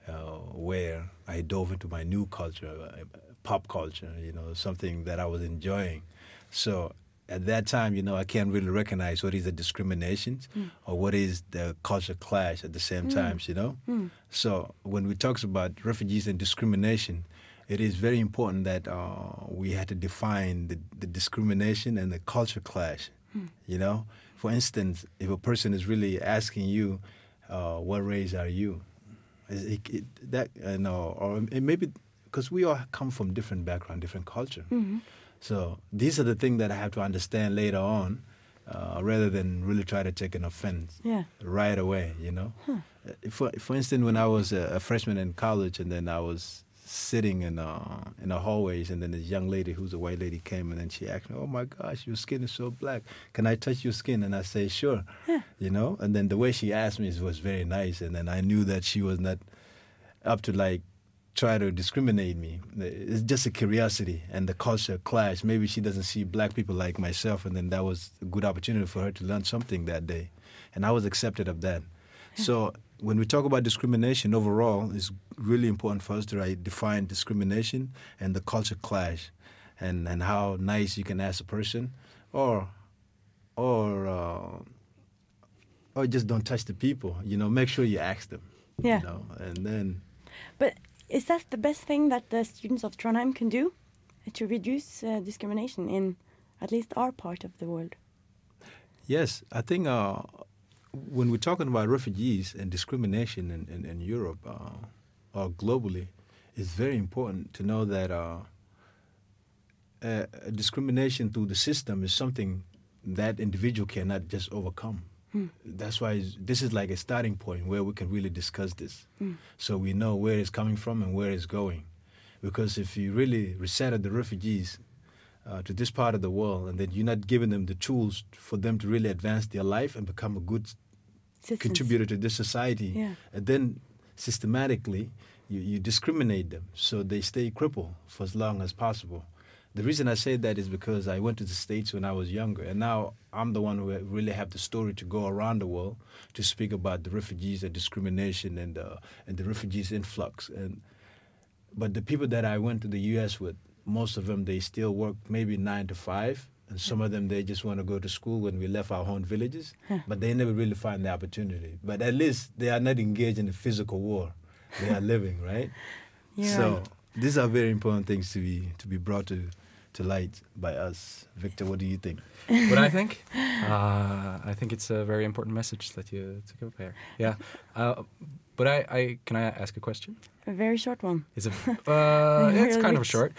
[SPEAKER 17] uh, where I dove into my new culture, uh, pop culture. You know, something that I was enjoying. So at that time, you know, I can't really recognize what is the discriminations
[SPEAKER 16] Mm.
[SPEAKER 17] or what is the culture clash at the same
[SPEAKER 16] Mm.
[SPEAKER 17] times. You know.
[SPEAKER 16] Mm.
[SPEAKER 17] So when we talk about refugees and discrimination, it is very important that uh, we had to define the, the discrimination and the culture clash.
[SPEAKER 16] Mm.
[SPEAKER 17] You know, for instance, if a person is really asking you, uh, "What race are you?" Is It, it, that you know, or it maybe because we all come from different background, different culture.
[SPEAKER 16] Mhm.
[SPEAKER 17] So these are the things that I have to understand later on, uh, rather than really try to take an offense
[SPEAKER 3] Yeah.
[SPEAKER 17] right away. You know, Uh, for for instance, when I was a, a freshman in college, and then I was sitting in uh in the hallways, and then this young lady who's a white lady came, and then she asked me, "Oh my gosh, your skin is so black. Can I touch your skin?" And I say, "Sure," you know. And then the way she asked me was very nice, and then I knew that she was not up to like try to discriminate me. It's just a curiosity and the culture clash. Maybe she doesn't see black people like myself, and then that was a good opportunity for her to learn something that day. And I was accepted of that. So when we talk about discrimination overall, it's really important for us to like, define discrimination and the culture clash, and and how nice you can ask a person, or or. Uh, or just don't touch the people, you know. Make sure you ask them,
[SPEAKER 3] Yeah.
[SPEAKER 17] you know, and then
[SPEAKER 3] But is that the best thing that the students of Trondheim can do to reduce uh, discrimination in at least our part of the world?
[SPEAKER 17] Yes, I think uh, when we're talking about refugees and discrimination in, in, in Europe uh, or globally, it's very important to know that uh, uh, discrimination through the system is something that individual cannot just overcome.
[SPEAKER 16] Hmm.
[SPEAKER 17] That's why it's- this is like a starting point where we can really discuss this
[SPEAKER 16] Mm.
[SPEAKER 17] so we know where it's coming from and where it's going. Because if you really resettle the refugees uh, to this part of the world and then you're not giving them the tools for them to really advance their life and become a good
[SPEAKER 3] Citizens.
[SPEAKER 17] contributor to this society,
[SPEAKER 3] Yeah.
[SPEAKER 17] and then systematically you, you discriminate them so they stay crippled for as long as possible. The reason I say that is because I went to the States when I was younger, and now I'm the one who really have the story to go around the world to speak about the refugees and discrimination and, uh, and the refugees influx. And, but the people that I went to the U.S. with, most of them they still work maybe nine to five, and some of them they just want to go to school when we left our home villages.
[SPEAKER 16] Huh.
[SPEAKER 17] But they never really find the opportunity. But at least they are not engaged in a physical war; they are living right.
[SPEAKER 3] You're
[SPEAKER 17] so
[SPEAKER 3] right.
[SPEAKER 17] these are very important things to be to be brought to to light by us. Victor, what do you think?
[SPEAKER 5] what I think? Uh, I think it's a very important message that you took up here. Yeah, uh, but I, I can I ask a question?
[SPEAKER 3] A very short one.
[SPEAKER 5] It's a uh, it's
[SPEAKER 3] Really?
[SPEAKER 5] kind of short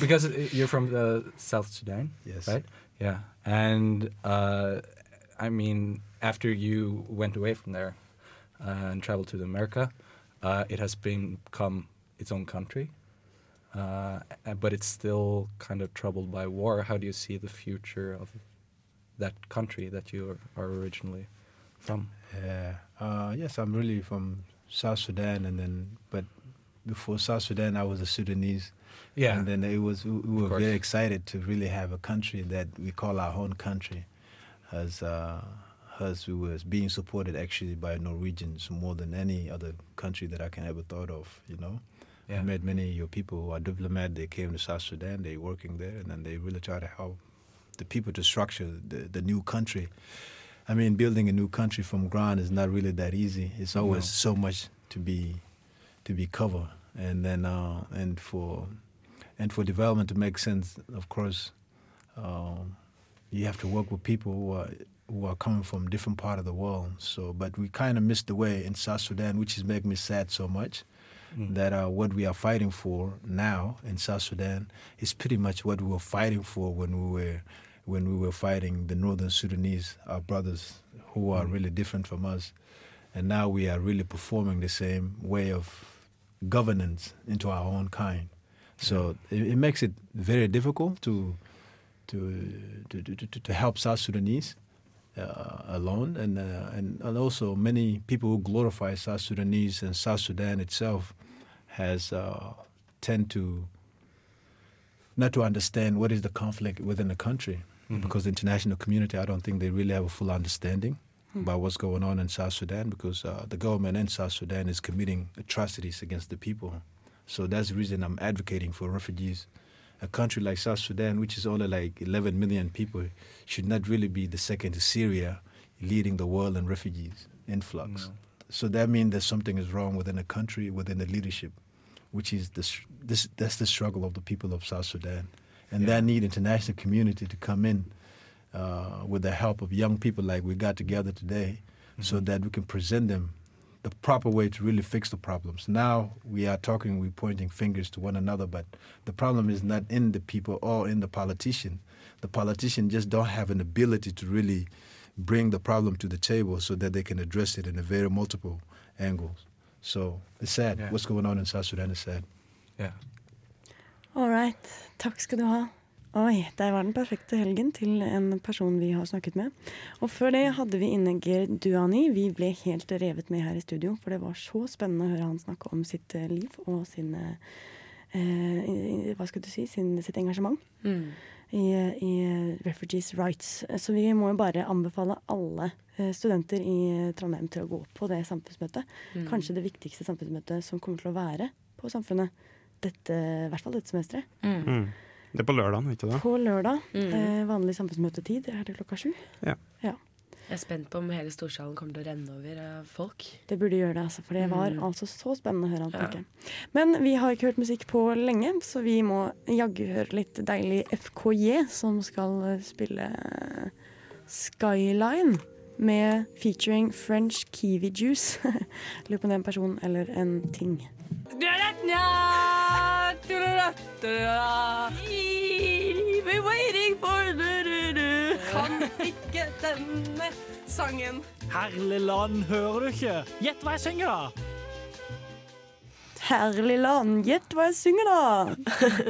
[SPEAKER 5] because it- you're from uh, South Sudan,
[SPEAKER 17] Yes.
[SPEAKER 5] right? Yeah, and uh, I mean, after you went away from there uh, and traveled to America, uh, it has been- become its own country, uh, a- but it's still kind of troubled by war. How do you see the future of that country that you are originally from?
[SPEAKER 17] Yeah. Uh, yes, I'm really from South Sudan, and then but before South Sudan, I was a Sudanese.
[SPEAKER 5] Yeah.
[SPEAKER 17] And then it was we we were
[SPEAKER 5] course.
[SPEAKER 17] very excited to really have a country that we call our own country, as uh, as we were being supported actually by Norwegians more than any other country that I can ever thought of. You know.
[SPEAKER 5] Yeah.
[SPEAKER 17] I met many of your people who are diplomat. They came to South Sudan. They working there, and then they really try to help the people to structure the, the new country. I mean, building a new country from ground is not really that easy. It's always so much to be to be covered, and then uh, and for and for development to make sense, of course, um, you have to work with people who are who are coming from different part of the world. So, but we kind of missed the way in South Sudan, which has made me sad so much. That uh, what we are fighting for now in South Sudan is pretty much what we were fighting for when we were when we were fighting the Northern Sudanese, our brothers who are really different from us, and now we are really performing the same way of governance into our own kind. So it, it makes it very difficult to to to, to, to, to help South Sudanese uh, alone, and, uh, and and also many people who glorify South Sudanese and South Sudan itself has uh, tend to not to understand what is the conflict within the country because the international community, I don't think they really have a full understanding about what's going on in South Sudan because uh, the government in South Sudan is committing atrocities against the people. So that's the reason I'm advocating for refugees. A country like South Sudan, which is only like 11 million people, should not really be the second to Syria leading the world in refugees influx. So that means that something is wrong within the country, within the leadership which is the, str- this, that's the struggle of the people of South Sudan. And they need international community to come in uh, with the help of young people like we got together today so that we can present them the proper way to really fix the problems. Now we are talking, we're pointing fingers to one another, but the problem is not in the people or in the politician. The politician just don't have an ability to really bring the problem to the table so that they can address it in a very multiple angles. So it's sad.
[SPEAKER 3] Yeah.
[SPEAKER 17] What's going on in South Sudan is sad.
[SPEAKER 5] Yeah.
[SPEAKER 3] All right. Takk skal du ha. Oi, der var den perfekte helgen til en person vi har snakket med. Og før det hadde vi inne Gerd Duani. Vi ble helt revet med her i studio, for det var så spennende å høre han snakke om sitt eh, liv og sin eh, eh, Hva skal du si? Sin, sitt engasjement
[SPEAKER 6] Mm.
[SPEAKER 3] i, i Refugees Rights. Så vi må jo bare anbefale alle eh, studenter i Trondheim til å gå på det samfunnsmøtet.
[SPEAKER 6] Mm.
[SPEAKER 3] Kanskje det viktigste samfunnsmøtet som kommer til å være på samfunnet, dette, i hvert fall dette semesteret.
[SPEAKER 13] Mm.
[SPEAKER 4] Det er på lørdagen, ikke det?
[SPEAKER 3] På lørdag,
[SPEAKER 6] Mm.
[SPEAKER 3] eh, vanlig samfunnsmøtetid, er det klokka sju.
[SPEAKER 4] Ja.
[SPEAKER 6] Jeg er spent på om hele Storsalen kommer til å renne over av folk.
[SPEAKER 3] Det burde gjøre det, altså, for det var
[SPEAKER 6] Mm.
[SPEAKER 3] altså så spennende å høre han
[SPEAKER 6] Ja.
[SPEAKER 3] snakke. Men vi har ikke hørt musikk på lenge, så vi må jaggu høre litt deilig FKJ, som skal eh, spille eh, Skyline med featuring French Kiwi Juice. Lurer på om det er en person eller en ting.
[SPEAKER 16] We're waiting for
[SPEAKER 1] Kan ikke denne sangen.
[SPEAKER 15] Herlig land, hører du ikke? Gjett hva jeg synger, da!
[SPEAKER 3] Herlig land, gjett hva jeg synger da!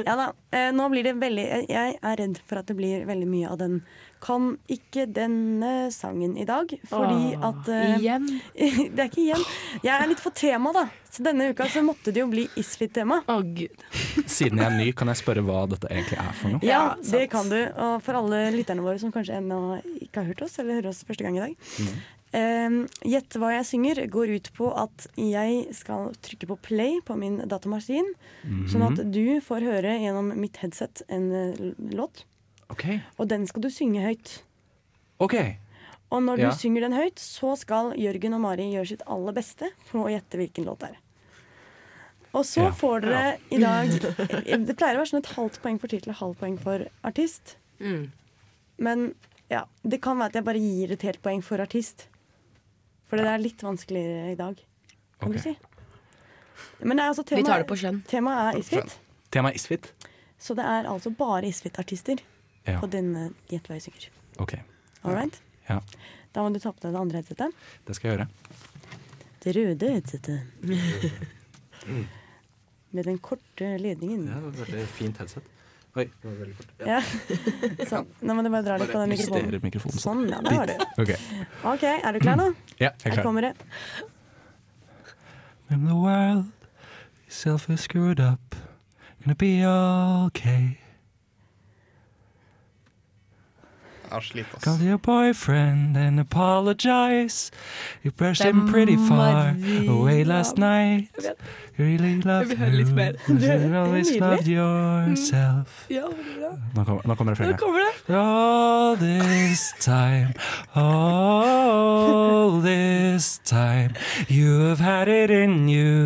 [SPEAKER 3] Ja da, eh, nå blir det veldig jeg- Jeg er redd for at det blir veldig mye av den. Kan ikke denne sangen i dag, fordi
[SPEAKER 6] Åh,
[SPEAKER 3] at eh,
[SPEAKER 6] igjen?
[SPEAKER 3] det er ikke igjen. Jeg er litt for tema, da. Så denne uka så måtte det jo bli Isfit-tema.
[SPEAKER 6] Å gud
[SPEAKER 5] Siden jeg er ny, kan jeg spørre hva dette egentlig er for noe?
[SPEAKER 3] Ja, det kan du. Og for alle lytterne våre som kanskje ennå ikke har hørt oss, eller hører oss første gang i dag.
[SPEAKER 5] Mm.
[SPEAKER 3] Ehm, Gjett hva jeg synger går ut på at jeg skal trykke på play på min datamaskin,
[SPEAKER 16] Mhm.
[SPEAKER 3] sånn at du får høre gjennom mitt headset en eh, l- låt,
[SPEAKER 5] Ok.
[SPEAKER 3] og den skal du synge høyt.
[SPEAKER 5] Ok.
[SPEAKER 3] Og når
[SPEAKER 5] Ja.
[SPEAKER 3] du synger den høyt, så skal Jørgen og Mari gjøre sitt aller beste for å gjette hvilken låt det er. Og så
[SPEAKER 16] Ja.
[SPEAKER 3] får dere
[SPEAKER 16] Ja.
[SPEAKER 3] i dag Det pleier å være sånn et halvt poeng for tittel og halvt poeng for artist.
[SPEAKER 6] Mm.
[SPEAKER 3] Men ja, det kan være at jeg bare gir et helt poeng for artist. For det er litt vanskeligere i dag, kan
[SPEAKER 5] Ok.
[SPEAKER 3] du si. Men det er altså
[SPEAKER 6] Vi
[SPEAKER 3] tema,
[SPEAKER 6] tar det på skjønn.
[SPEAKER 3] Temaet er isfit,
[SPEAKER 5] Temaet er isfit?
[SPEAKER 3] så det er altså bare isfit-artister
[SPEAKER 5] Ja.
[SPEAKER 3] på denne Gjett hva jeg synger.
[SPEAKER 5] Ok,
[SPEAKER 3] All right?
[SPEAKER 5] Ja.
[SPEAKER 3] Da må du ta på deg det andre headsetet.
[SPEAKER 5] det skal jeg gjøre.
[SPEAKER 3] Det røde headsetet. Med den korte ledningen.
[SPEAKER 5] Ja, det var veldig fint headset. Oi, det var veldig kort.
[SPEAKER 3] Ja. Sånn. Nå må du bare dra litt på den mikrofonen.
[SPEAKER 5] mikrofonen.
[SPEAKER 3] Sånn, ja, der var du.
[SPEAKER 5] Ok.
[SPEAKER 3] OK, er du klar nå?
[SPEAKER 5] Ja, jeg er
[SPEAKER 3] Her
[SPEAKER 5] klar.
[SPEAKER 3] kommer det.
[SPEAKER 13] When the world itself is screwed up, gonna be okay.
[SPEAKER 4] Jeg sliter, ass.
[SPEAKER 13] Call your boyfriend and apologize. You pushed him pretty far away last night. You really love
[SPEAKER 16] Jeg vil høre litt
[SPEAKER 13] you.
[SPEAKER 16] mer.
[SPEAKER 13] You always
[SPEAKER 16] Nydelig. Mm.
[SPEAKER 13] loved yourself.
[SPEAKER 16] Ja, veldig bra.
[SPEAKER 5] Nå kommer, nå kommer
[SPEAKER 16] Nå
[SPEAKER 5] refrenget.
[SPEAKER 16] kommer det.
[SPEAKER 13] All this time, all this time, you have had it in you.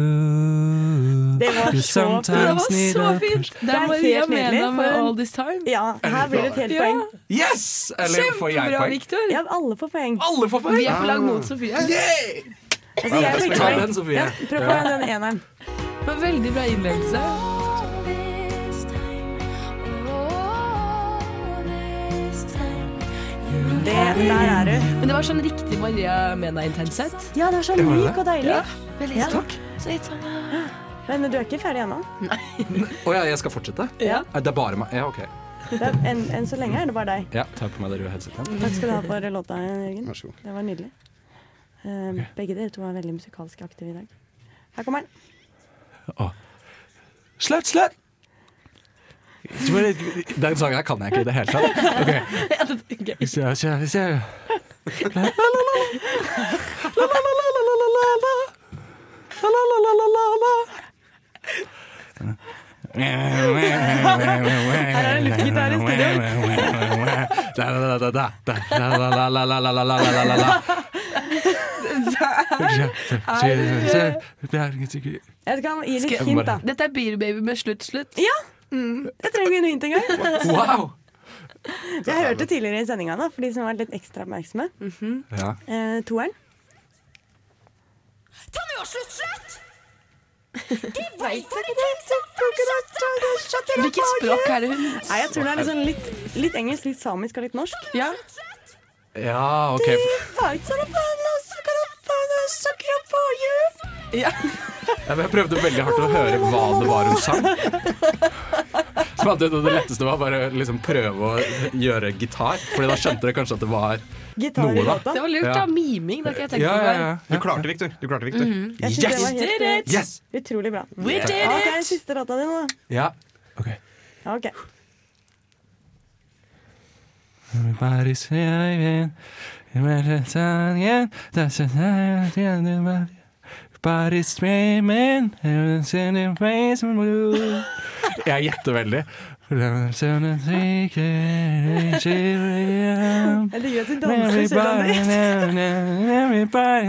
[SPEAKER 16] Det var
[SPEAKER 13] you
[SPEAKER 16] så fint. Det var
[SPEAKER 13] sometimes need
[SPEAKER 16] så
[SPEAKER 13] a
[SPEAKER 16] fint.
[SPEAKER 13] push.
[SPEAKER 16] Det er Maria Mena med
[SPEAKER 3] for-
[SPEAKER 16] All This Time.
[SPEAKER 3] Ja, her blir det et helt poeng.
[SPEAKER 5] Yes! Eller får jeg
[SPEAKER 16] Kjempebra,
[SPEAKER 5] poeng?
[SPEAKER 16] Victor.
[SPEAKER 3] Ja, alle får poeng.
[SPEAKER 5] Alle får poeng?
[SPEAKER 16] Vi er på lag mot Sofie.
[SPEAKER 3] Altså, jeg fikk
[SPEAKER 5] Ta
[SPEAKER 3] poeng.
[SPEAKER 5] den, Sofie.
[SPEAKER 3] Ja, prøv på den eneren.
[SPEAKER 16] Det var veldig bra innledelse.
[SPEAKER 3] Det, der er du.
[SPEAKER 16] Men det var sånn riktig Maria Mena-intensitet.
[SPEAKER 3] Ja, det var sånn
[SPEAKER 16] Ja, var det
[SPEAKER 3] myk
[SPEAKER 16] det?
[SPEAKER 3] og deilig.
[SPEAKER 16] Ja, veldig
[SPEAKER 3] sånn, Ja.
[SPEAKER 16] takk.
[SPEAKER 3] Men du er ikke ferdig ennå.
[SPEAKER 5] Å ja, jeg skal fortsette?
[SPEAKER 3] Ja.
[SPEAKER 5] Nei, Det er bare meg? Ja, OK.
[SPEAKER 3] Det er- Enn enn så lenge er det bare deg.
[SPEAKER 5] Ja, ta på meg det røde headsetet.
[SPEAKER 3] Takk skal du ha for låta, Jørgen.
[SPEAKER 5] Vær så god.
[SPEAKER 3] Det var nydelig. Eh, Begge dere to er veldig musikalsk aktive i dag. Her kommer den.
[SPEAKER 5] Slutt, slutt! Den sangen her kan jeg ikke i det hele tatt. Ok. Hvis jeg, hvis jeg, hvis jeg.
[SPEAKER 16] Her er det luftgitar i
[SPEAKER 13] studio.
[SPEAKER 3] Jeg kan gi litt
[SPEAKER 13] Skal-
[SPEAKER 3] hint, da.
[SPEAKER 16] Dette er Beer Baby med Slutt, slutt.
[SPEAKER 3] Ja! Mm, jeg trenger ikke noe hint engang.
[SPEAKER 16] Wow.
[SPEAKER 3] Jeg hørte tidligere i sendinga, da, for de som var litt ekstra oppmerksomme.
[SPEAKER 5] Ja.
[SPEAKER 3] Eh, toeren.
[SPEAKER 16] Ta nå slutt, slutt!
[SPEAKER 3] Hvilket
[SPEAKER 16] språk er det hun
[SPEAKER 3] Nei, Jeg tror det er litt, sånn litt, litt engelsk, litt samisk og litt norsk.
[SPEAKER 16] Ja.
[SPEAKER 5] Ja, OK.
[SPEAKER 3] Fight, så da faen, og så kan jeg faen, og så kan jeg få you.
[SPEAKER 5] Jeg prøvde veldig hardt å høre hva det var hun sang. Så fant jeg ut at det letteste var bare liksom prøve å gjøre gitar, Fordi da skjønte dere kanskje at det var
[SPEAKER 6] Gitar i
[SPEAKER 5] noe,
[SPEAKER 6] låta.
[SPEAKER 5] da.
[SPEAKER 6] Det var lurt,
[SPEAKER 5] Ja.
[SPEAKER 6] da. Miming. Det har ikke jeg tenkt
[SPEAKER 5] Ja, ja,
[SPEAKER 6] på før.
[SPEAKER 5] ja. Du klarte det, Victor. Du klarte det, Victor.
[SPEAKER 4] Mm.
[SPEAKER 6] Mhm.
[SPEAKER 3] Jeg synes
[SPEAKER 5] Yes!
[SPEAKER 3] det var helt eh,
[SPEAKER 5] Yes!
[SPEAKER 3] utrolig bra.
[SPEAKER 6] We did it!
[SPEAKER 3] Ok, siste låta di nå.
[SPEAKER 5] Ja.
[SPEAKER 3] da. Ok.
[SPEAKER 13] Everybody's waving. Everybody's singing. That's a night in the world. Everybody's screaming. Everyone's in the face of blue.
[SPEAKER 5] Jeg gjetter veldig.
[SPEAKER 13] Everyone's in the secret, children.
[SPEAKER 3] Jeg digger at du danser selv om
[SPEAKER 13] Everybody,
[SPEAKER 3] det
[SPEAKER 5] sånn
[SPEAKER 13] everybody,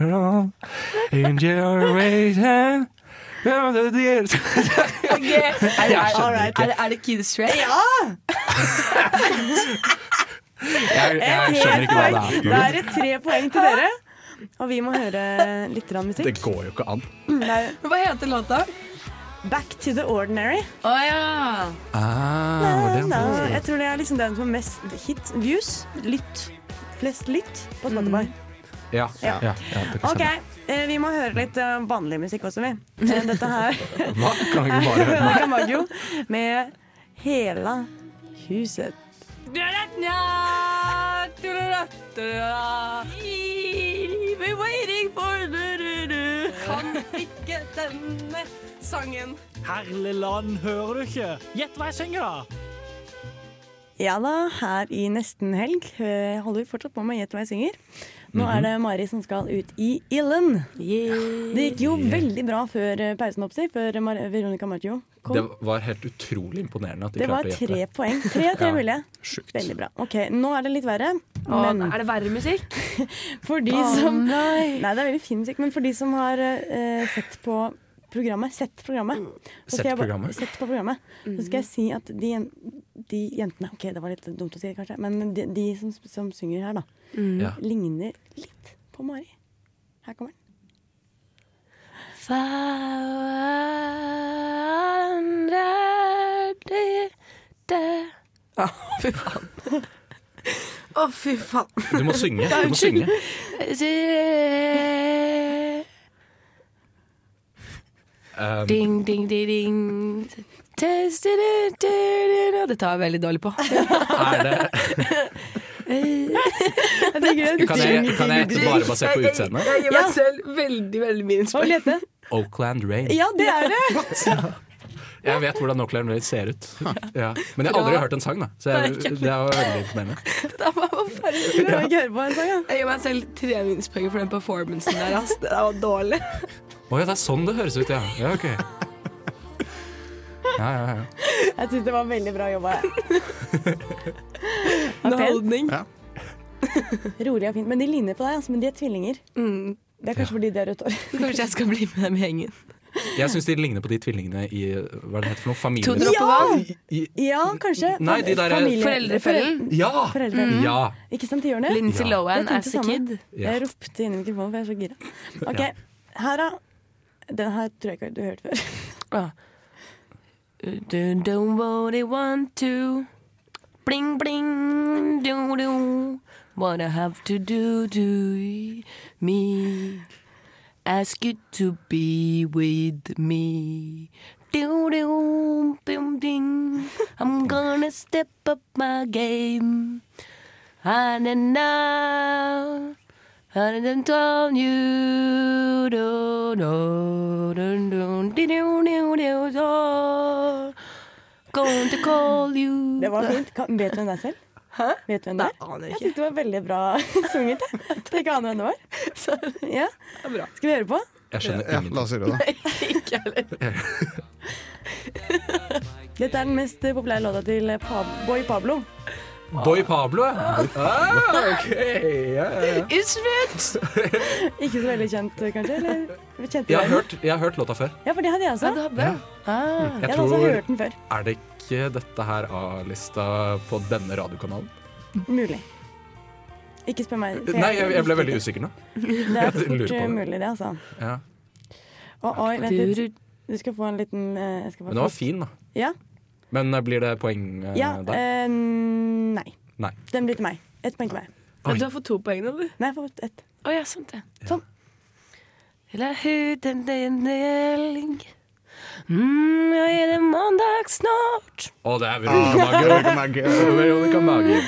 [SPEAKER 13] everybody, Angel raising.
[SPEAKER 6] Ok, Er,
[SPEAKER 13] Jeg
[SPEAKER 6] er,
[SPEAKER 13] skjønner
[SPEAKER 6] er,
[SPEAKER 13] ikke.
[SPEAKER 6] er, er det Kid Stray? Ja!
[SPEAKER 5] Jeg, jeg skjønner ikke hva det
[SPEAKER 3] Da er
[SPEAKER 5] er.
[SPEAKER 3] det tre poeng til dere. Og vi må høre litt grann musikk.
[SPEAKER 5] Det går jo ikke an.
[SPEAKER 3] Hva heter låta? Back to the Ordinary.
[SPEAKER 6] Å ja!
[SPEAKER 5] Ah, det
[SPEAKER 3] Nei,
[SPEAKER 5] er
[SPEAKER 3] jeg tror det er liksom den som har mest hit views. Lytt. Flest lytt på
[SPEAKER 5] Mm.
[SPEAKER 3] Spotify.
[SPEAKER 5] Ja.
[SPEAKER 3] Ja.
[SPEAKER 5] ja, ja det kan
[SPEAKER 3] OK,
[SPEAKER 5] stemme.
[SPEAKER 3] eh, vi må høre litt eh, vanlig musikk også, vi. Eh, Dette her
[SPEAKER 5] Hva? Kan vi ikke bare høre
[SPEAKER 3] Veronica Maggio med Hela huset.
[SPEAKER 6] We're waiting for Kan ikke denne sangen.
[SPEAKER 15] Herlig land, hører du ikke? Gjett hva jeg synger, da!
[SPEAKER 3] Ja da, her i nesten helg eh, holder vi fortsatt på med Gjett hva jeg synger. Nå
[SPEAKER 5] Mhm.
[SPEAKER 3] er det Mari som skal ut i ilden. Det gikk jo veldig bra før eh, pausen, oppsi, før Mar Veronica Maggio kom.
[SPEAKER 5] Det var helt utrolig imponerende at de
[SPEAKER 3] Det var
[SPEAKER 5] klarte å gjette
[SPEAKER 3] tre poeng. Tre av tre
[SPEAKER 5] Ja.
[SPEAKER 3] mulige. Veldig bra. Ok, Nå er det litt verre.
[SPEAKER 18] er det verre musikk?
[SPEAKER 3] for de
[SPEAKER 18] Å,
[SPEAKER 3] som nei. det er veldig fin musikk, men for de som har eh, sett på programmet Sett programmet. så skal
[SPEAKER 5] Sett
[SPEAKER 3] jeg ba-
[SPEAKER 5] programmet?
[SPEAKER 3] Sett på programmet. Så skal jeg si at de, jen- de jentene Ok, det var litt dumt å si, kanskje, men de, de som, som synger her, da,
[SPEAKER 6] Mm. Ja.
[SPEAKER 3] ligner litt på Mari. Her kommer den.
[SPEAKER 6] Vandrer det det Å, fy faen. Å, fy faen.
[SPEAKER 5] Du må synge,
[SPEAKER 6] Ja,
[SPEAKER 5] du må
[SPEAKER 6] unnskyld.
[SPEAKER 5] synge.
[SPEAKER 6] Sier-
[SPEAKER 5] Um,
[SPEAKER 6] Ding, ding, ding, ding. Test it, it, it, it, it. Dette var jeg veldig dårlig på.
[SPEAKER 5] Er det Kan jeg- kan jeg gjette bare basert på utseendet?
[SPEAKER 6] Jeg gir meg selv veldig, veldig minus poeng.
[SPEAKER 5] Oakland Rain?
[SPEAKER 6] Ja, det er det!
[SPEAKER 5] Jeg vet hvordan Oakland Raid ser ut. Ja. Men jeg har aldri
[SPEAKER 6] Bra.
[SPEAKER 5] hørt en sang, da. Så jeg,
[SPEAKER 6] Nei, ikke.
[SPEAKER 5] det er jo veldig imponerende.
[SPEAKER 6] Dette var forferdelig.
[SPEAKER 5] Ja. Jeg
[SPEAKER 6] Jeg gir meg selv tre minuspoeng for den performancen der, ass. Det der var dårlig.
[SPEAKER 5] Å ja, det er sånn det høres ut, ja. Ja, ok. Ja, ja, ja.
[SPEAKER 3] Jeg syns det var veldig bra jobba.
[SPEAKER 6] Underholdning.
[SPEAKER 3] Rolig og fint. Men de ligner på deg, altså, men de er tvillinger. Det er kanskje fordi de har rødt hår.
[SPEAKER 18] Kanskje jeg skal bli med dem i gjengen.
[SPEAKER 5] Jeg syns de ligner på de tvillingene i Hva er det heter for noe? Familie?
[SPEAKER 18] To dråper vann?
[SPEAKER 3] Ja, kanskje.
[SPEAKER 5] Nei, de der-
[SPEAKER 3] Familie-
[SPEAKER 18] Foreldrefellen?
[SPEAKER 5] Ja! Mm,
[SPEAKER 3] Foreldrefellen.
[SPEAKER 5] Ja!
[SPEAKER 3] Ikke sant, de gjør det?
[SPEAKER 18] Lindsay Ja. Lohan
[SPEAKER 3] Jeg tenkte
[SPEAKER 18] as a
[SPEAKER 3] samme.
[SPEAKER 18] kid.
[SPEAKER 5] Ja.
[SPEAKER 3] Jeg ropte inn i mikrofonen, for jeg er så gira. Ok, her da. Den her tror jeg ikke du har hørt før.
[SPEAKER 18] Ah.
[SPEAKER 6] Do, do what they want to. Bling, bling, do, do. What I have to do to me. Ask you to be with me. Do, do, bing, ding. I'm gonna step up my game. And then now. And then tell you do, do, do, do, do, do, do, do, do. Going to call you
[SPEAKER 3] Det var fint. Kan, vet du hvem det er selv? Hæ? Vet du hvem det er?
[SPEAKER 6] aner
[SPEAKER 3] Jeg synes det var veldig bra sunget. jeg. At jeg ikke aner hvem det var. Ja. Skal vi høre på?
[SPEAKER 5] Jeg skjønner
[SPEAKER 4] Ja, la oss gjøre det.
[SPEAKER 3] Dette er den mest populære låta til Pa- Boy Pablo.
[SPEAKER 5] Boy Pablo, ja. Ah, ok. Ja, ja, ja.
[SPEAKER 3] Ikke så veldig kjent, kanskje? Eller?
[SPEAKER 5] Jeg
[SPEAKER 3] Kjente du
[SPEAKER 5] har
[SPEAKER 3] den?
[SPEAKER 5] hørt, jeg har hørt låta før.
[SPEAKER 3] Ja, for det hadde jeg også. Ah, jeg
[SPEAKER 5] Jeg
[SPEAKER 3] hadde også
[SPEAKER 5] tror-
[SPEAKER 3] hørt den før.
[SPEAKER 5] Er det ikke dette her A-lista på denne radiokanalen?
[SPEAKER 3] Mulig. Ikke spør meg. for
[SPEAKER 5] Nei, jeg, jeg ble veldig usikker nå.
[SPEAKER 3] Det er
[SPEAKER 5] Jeg lurer
[SPEAKER 3] fort
[SPEAKER 5] på
[SPEAKER 3] eh,
[SPEAKER 5] det.
[SPEAKER 3] mulig, det, altså.
[SPEAKER 5] Ja.
[SPEAKER 3] Å, oi, vent litt. Du skal få en liten eh, jeg skal bare
[SPEAKER 5] Men den var
[SPEAKER 3] få-
[SPEAKER 5] fin, da.
[SPEAKER 3] Ja.
[SPEAKER 5] Men eh, blir det poeng eh,
[SPEAKER 3] ja
[SPEAKER 5] der?
[SPEAKER 3] eh, nei.
[SPEAKER 5] Nei.
[SPEAKER 3] Den blir til meg. Ett poeng til meg.
[SPEAKER 5] Oi.
[SPEAKER 18] Du har fått to poeng nå, du.
[SPEAKER 3] Nei, jeg har fått ett.
[SPEAKER 18] Å ja, sant det.
[SPEAKER 3] Sånn.
[SPEAKER 16] La huden det er en elg. Mm, ja, er det mandag snart?
[SPEAKER 19] Å, det er
[SPEAKER 16] Ah,
[SPEAKER 19] Veronica
[SPEAKER 16] Maggio.
[SPEAKER 19] Veronica Maggio.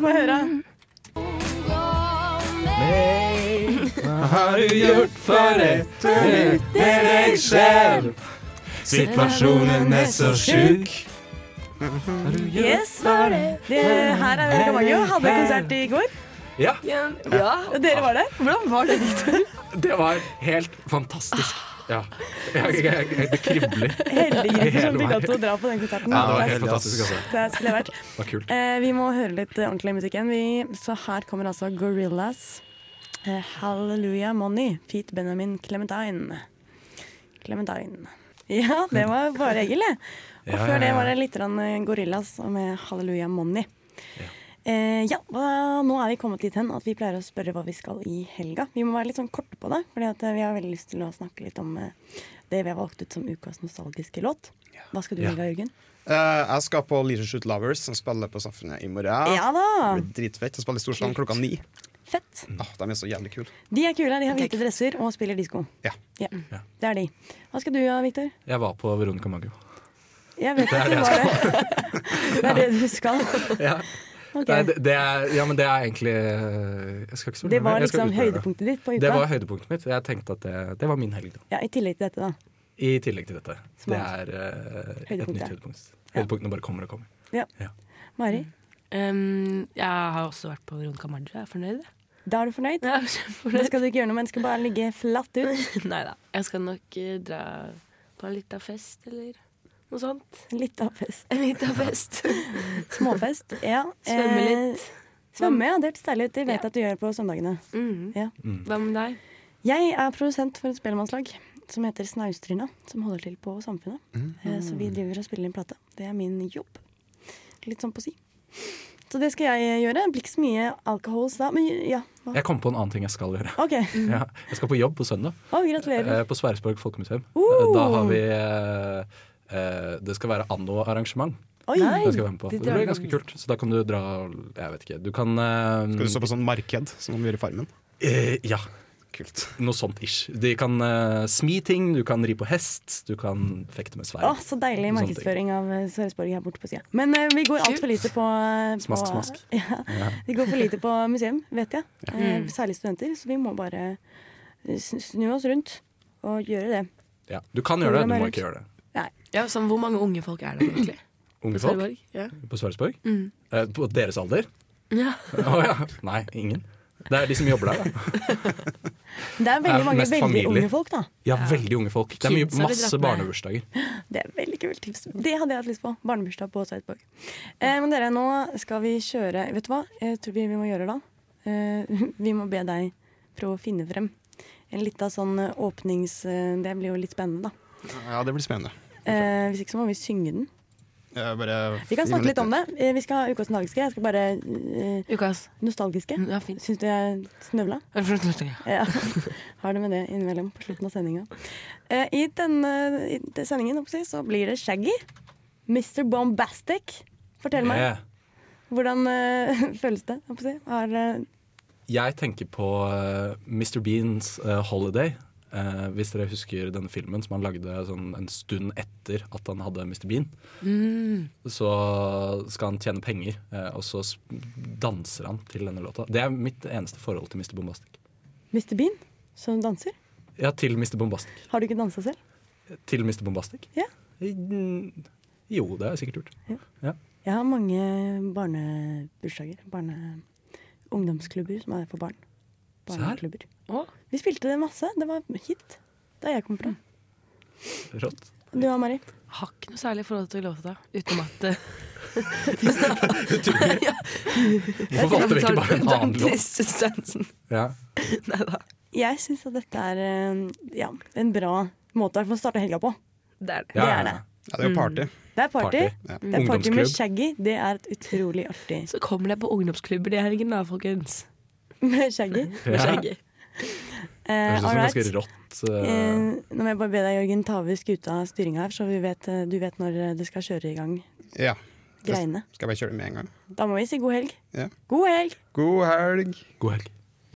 [SPEAKER 16] Få
[SPEAKER 3] høre.
[SPEAKER 13] Hva har du gjort for et minutt med deg selv? Situasjonen er så sjuk.
[SPEAKER 3] Yes, var det. det her er Veronica Maggio.
[SPEAKER 5] Eh,
[SPEAKER 3] Hadde konsert i går.
[SPEAKER 19] Ja.
[SPEAKER 3] Dere var der? Hvordan var det, Victor?
[SPEAKER 19] Det var helt fantastisk. Ja. Jeg, jeg, jeg, det kribler.
[SPEAKER 3] Heldiggriser som
[SPEAKER 19] Hele
[SPEAKER 3] fikk lov til å
[SPEAKER 19] veien.
[SPEAKER 3] dra på den konserten.
[SPEAKER 19] Ja, det var helt
[SPEAKER 3] er-
[SPEAKER 19] fantastisk, altså.
[SPEAKER 3] Det er- skulle jeg vært.
[SPEAKER 19] Det var kult.
[SPEAKER 3] Eh, vi må høre litt eh, ordentlig musikk igjen. Vi, så her kommer altså Gorillas. Eh, Hallelujah Money, Pete Benjamin Clementine. Clementine. Ja, det var bare Egil, det. Og
[SPEAKER 20] Ja, ja,
[SPEAKER 3] før det
[SPEAKER 20] ja.
[SPEAKER 3] var det litt grann, eh, Gorillas med Hallelujah Money. Eh, ja, hva- nå er vi kommet dit hen at vi pleier å spørre hva vi skal i helga. Vi må være litt sånn korte på det, for vi har veldig lyst til å snakke litt om eh, det vi har valgt ut som ukas nostalgiske låt. Hva skal du i
[SPEAKER 4] Ja.
[SPEAKER 3] helga, Jørgen?
[SPEAKER 4] Eh, jeg skal på Leadership Lovers, som spiller på Saffene i morgen.
[SPEAKER 3] Ja da.
[SPEAKER 4] Det blir dritfett. De spiller i Storsand klokka ni.
[SPEAKER 3] Fett.
[SPEAKER 4] Åh, de er så jævlig kule.
[SPEAKER 3] De er kule, de har hvite dresser og spiller disko.
[SPEAKER 4] Ja.
[SPEAKER 3] Det er de. Hva skal du gjøre, Victor?
[SPEAKER 5] Jeg var på Veronica Maggio.
[SPEAKER 3] Jeg vet
[SPEAKER 5] Det er
[SPEAKER 3] at
[SPEAKER 5] det
[SPEAKER 3] du
[SPEAKER 5] jeg
[SPEAKER 3] var
[SPEAKER 5] skal.
[SPEAKER 3] det. Det er det du skal.
[SPEAKER 5] Ja.
[SPEAKER 3] Ok.
[SPEAKER 5] Nei, det, det er, ja, men det er egentlig eh, Jeg skal ikke spørre
[SPEAKER 3] Det
[SPEAKER 5] mer,
[SPEAKER 3] var
[SPEAKER 5] jeg skal
[SPEAKER 3] liksom
[SPEAKER 5] utfordre.
[SPEAKER 3] høydepunktet ditt på uka?
[SPEAKER 5] Det var høydepunktet mitt. Jeg tenkte at det, det var min helg, da.
[SPEAKER 3] Ja, I tillegg til dette, da.
[SPEAKER 5] I tillegg til dette. Det
[SPEAKER 3] Smart.
[SPEAKER 5] er eh, et
[SPEAKER 3] Høydepunkt,
[SPEAKER 5] nytt
[SPEAKER 3] ja.
[SPEAKER 5] høydepunkt. Høydepunktene bare kommer og kommer.
[SPEAKER 3] Ja. Mari?
[SPEAKER 5] Mm.
[SPEAKER 9] Um, jeg har også vært på Veronica Maggio. Jeg er fornøyd. jeg.
[SPEAKER 3] Da er du fornøyd?
[SPEAKER 9] Ja,
[SPEAKER 3] Da skal du ikke gjøre noe, men skal bare ligge flatt ut.
[SPEAKER 9] Nei da. Jeg skal nok eh, dra på en lita fest eller noe sånt.
[SPEAKER 3] En lita fest.
[SPEAKER 9] En lita fest.
[SPEAKER 3] Småfest. Ja.
[SPEAKER 9] Svømme
[SPEAKER 3] eh,
[SPEAKER 9] litt.
[SPEAKER 3] Svømme, ja. Det hørtes deilig ut. Det vet jeg at du gjør på søndagene. Ja.
[SPEAKER 9] mm. Hva med deg?
[SPEAKER 3] Jeg er produsent for et spellemannslag som heter Snaustryna, som holder til på Samfunnet.
[SPEAKER 9] Mm.
[SPEAKER 3] Eh, Så vi driver og spiller inn plate. Det er min jobb. Litt sånn på si. Så det skal jeg eh, gjøre. Det blir ikke så mye alkohols da, men ja. hva?
[SPEAKER 5] Jeg kom på en annen ting jeg skal gjøre.
[SPEAKER 3] Ok.
[SPEAKER 5] Ja, jeg skal på jobb på søndag.
[SPEAKER 3] Å, gratulerer.
[SPEAKER 5] Eh, På Sverresborg folkemuseum.
[SPEAKER 3] Oh!
[SPEAKER 5] Eh, Da har vi eh, eh, Det skal være anno-arrangement.
[SPEAKER 3] Oi! Nei,
[SPEAKER 5] det, skal jeg være med på.
[SPEAKER 3] de
[SPEAKER 5] det
[SPEAKER 3] drar
[SPEAKER 5] blir ganske
[SPEAKER 3] den.
[SPEAKER 5] kult. Så da kan du dra Jeg vet ikke. Du kan eh,
[SPEAKER 4] Skal du stå på sånn marked, som de gjør i Farmen?
[SPEAKER 5] Eh, ja. Kult. Noe sånt ish. De kan eh, smi ting, du kan ri på hest, du kan fekte med sverd.
[SPEAKER 3] Å, så deilig
[SPEAKER 5] Sånne ting.
[SPEAKER 3] markedsføring av eh, Sørresborg her borte på sida. Men eh, vi går altfor lite på, eh, på
[SPEAKER 5] Smask, smask.
[SPEAKER 3] Ja,
[SPEAKER 5] Ja.
[SPEAKER 3] vi går for lite på museum, vet jeg.
[SPEAKER 5] Ja.
[SPEAKER 3] Eh,
[SPEAKER 5] Mm.
[SPEAKER 3] Særlig studenter, så vi må bare eh, sn- snu oss rundt og gjøre det.
[SPEAKER 5] Ja. Du kan gjøre det, du må ikke gjøre det.
[SPEAKER 6] Ja, sånn, hvor mange unge folk er det egentlig?
[SPEAKER 5] Unge
[SPEAKER 6] På
[SPEAKER 5] folk
[SPEAKER 6] Sørborg? Ja.
[SPEAKER 5] på Sverresborg?
[SPEAKER 6] Mm.
[SPEAKER 5] Eh, på deres alder?
[SPEAKER 6] Ja.
[SPEAKER 5] Å ja. Nei, ingen. Det er de som jobber der, da.
[SPEAKER 3] Det er
[SPEAKER 5] Det
[SPEAKER 3] veldig
[SPEAKER 5] er
[SPEAKER 3] mange
[SPEAKER 5] mest
[SPEAKER 3] veldig
[SPEAKER 5] familier.
[SPEAKER 3] unge folk, da.
[SPEAKER 5] Ja, veldig unge folk. Det er mye,
[SPEAKER 3] Kids har blitt
[SPEAKER 5] masse
[SPEAKER 3] dratt med.
[SPEAKER 5] barnebursdager.
[SPEAKER 3] Det er veldig kult tips. Det hadde jeg hatt lyst på. Barnebursdag på Sveitborg. Eh, men dere, nå skal vi kjøre Vet du hva jeg tror vi, vi må gjøre da? Eh, vi må be deg prøve å finne frem en lita sånn eh, åpnings... eh, Det blir jo litt spennende, da.
[SPEAKER 4] Ja, det blir spennende.
[SPEAKER 3] Eh, hvis ikke så må vi synge den.
[SPEAKER 4] Jeg bare
[SPEAKER 3] Vi kan snakke litt om det. Eh, Vi skal ha Ukas nostalgiske. Jeg skal bare eh, Nostalgiske. Mm, Ja, Syns du jeg snøvla? Ja. Har det med det innimellom på slutten av sendinga. Eh, I denne i den sendingen holdt jeg på å si, så blir det Shaggy. Mr. Bombastic. Fortell meg.
[SPEAKER 5] Yeah.
[SPEAKER 3] Hvordan eh, føles det? holdt jeg på å si? Har, eh,
[SPEAKER 5] Jeg tenker på eh, Mr. Beans eh, Holiday. Eh, hvis dere husker denne filmen som han lagde sånn en stund etter at han hadde Mr. Bean.
[SPEAKER 3] Mm.
[SPEAKER 5] Så skal han tjene penger, eh, og så s- danser han til denne låta. Det er mitt eneste forhold til Mr. Bombastic.
[SPEAKER 3] Mr. Bean som danser?
[SPEAKER 5] Ja, til Mr. Bombastic.
[SPEAKER 3] Har du ikke dansa selv?
[SPEAKER 5] Til Mr. Bombastic? Eh,
[SPEAKER 3] Ja.
[SPEAKER 5] Jo, det har jeg sikkert gjort. Ja.
[SPEAKER 3] Jeg har mange barnebursdager. Barne ungdomsklubber som er for barn.
[SPEAKER 5] Se her.
[SPEAKER 3] Barneklubber. Vi spilte det masse. Det var hit der jeg kom fra.
[SPEAKER 5] Rått.
[SPEAKER 3] Du og Mari?
[SPEAKER 9] Har ikke noe særlig forhold til låta, utenom at eh, Ja.
[SPEAKER 5] Hvorfor valgte vi ikke bare en annen låt?
[SPEAKER 9] Substansen.
[SPEAKER 5] Ja.
[SPEAKER 3] Jeg syns at dette er eh, ja, en bra måte i hvert fall å starte helga på.
[SPEAKER 9] Det er
[SPEAKER 3] Det er det.
[SPEAKER 4] Ja, det er jo party.
[SPEAKER 3] Det er party. Det
[SPEAKER 4] Ja.
[SPEAKER 3] er party med
[SPEAKER 4] Ungdomsklubb.
[SPEAKER 3] Shaggy. Det er et utrolig artig
[SPEAKER 9] Så kommer deg på ungdomsklubber i helgen da, folkens.
[SPEAKER 3] Med Shaggy.
[SPEAKER 5] Ja. Med Shaggy.
[SPEAKER 3] Eh,
[SPEAKER 5] Høres ut som
[SPEAKER 3] alright.
[SPEAKER 5] ganske rått, eh.
[SPEAKER 3] Eh, nå må jeg bare be deg, Jørgen, ta over skuta av styringa her, så vi vet, eh, du vet når eh, du skal kjøre i gang
[SPEAKER 4] Ja.
[SPEAKER 3] greiene.
[SPEAKER 4] Skal jeg bare kjøre det med en gang?
[SPEAKER 3] Da må vi si god helg.
[SPEAKER 4] Ja.
[SPEAKER 3] God helg!
[SPEAKER 4] God helg.
[SPEAKER 5] God helg.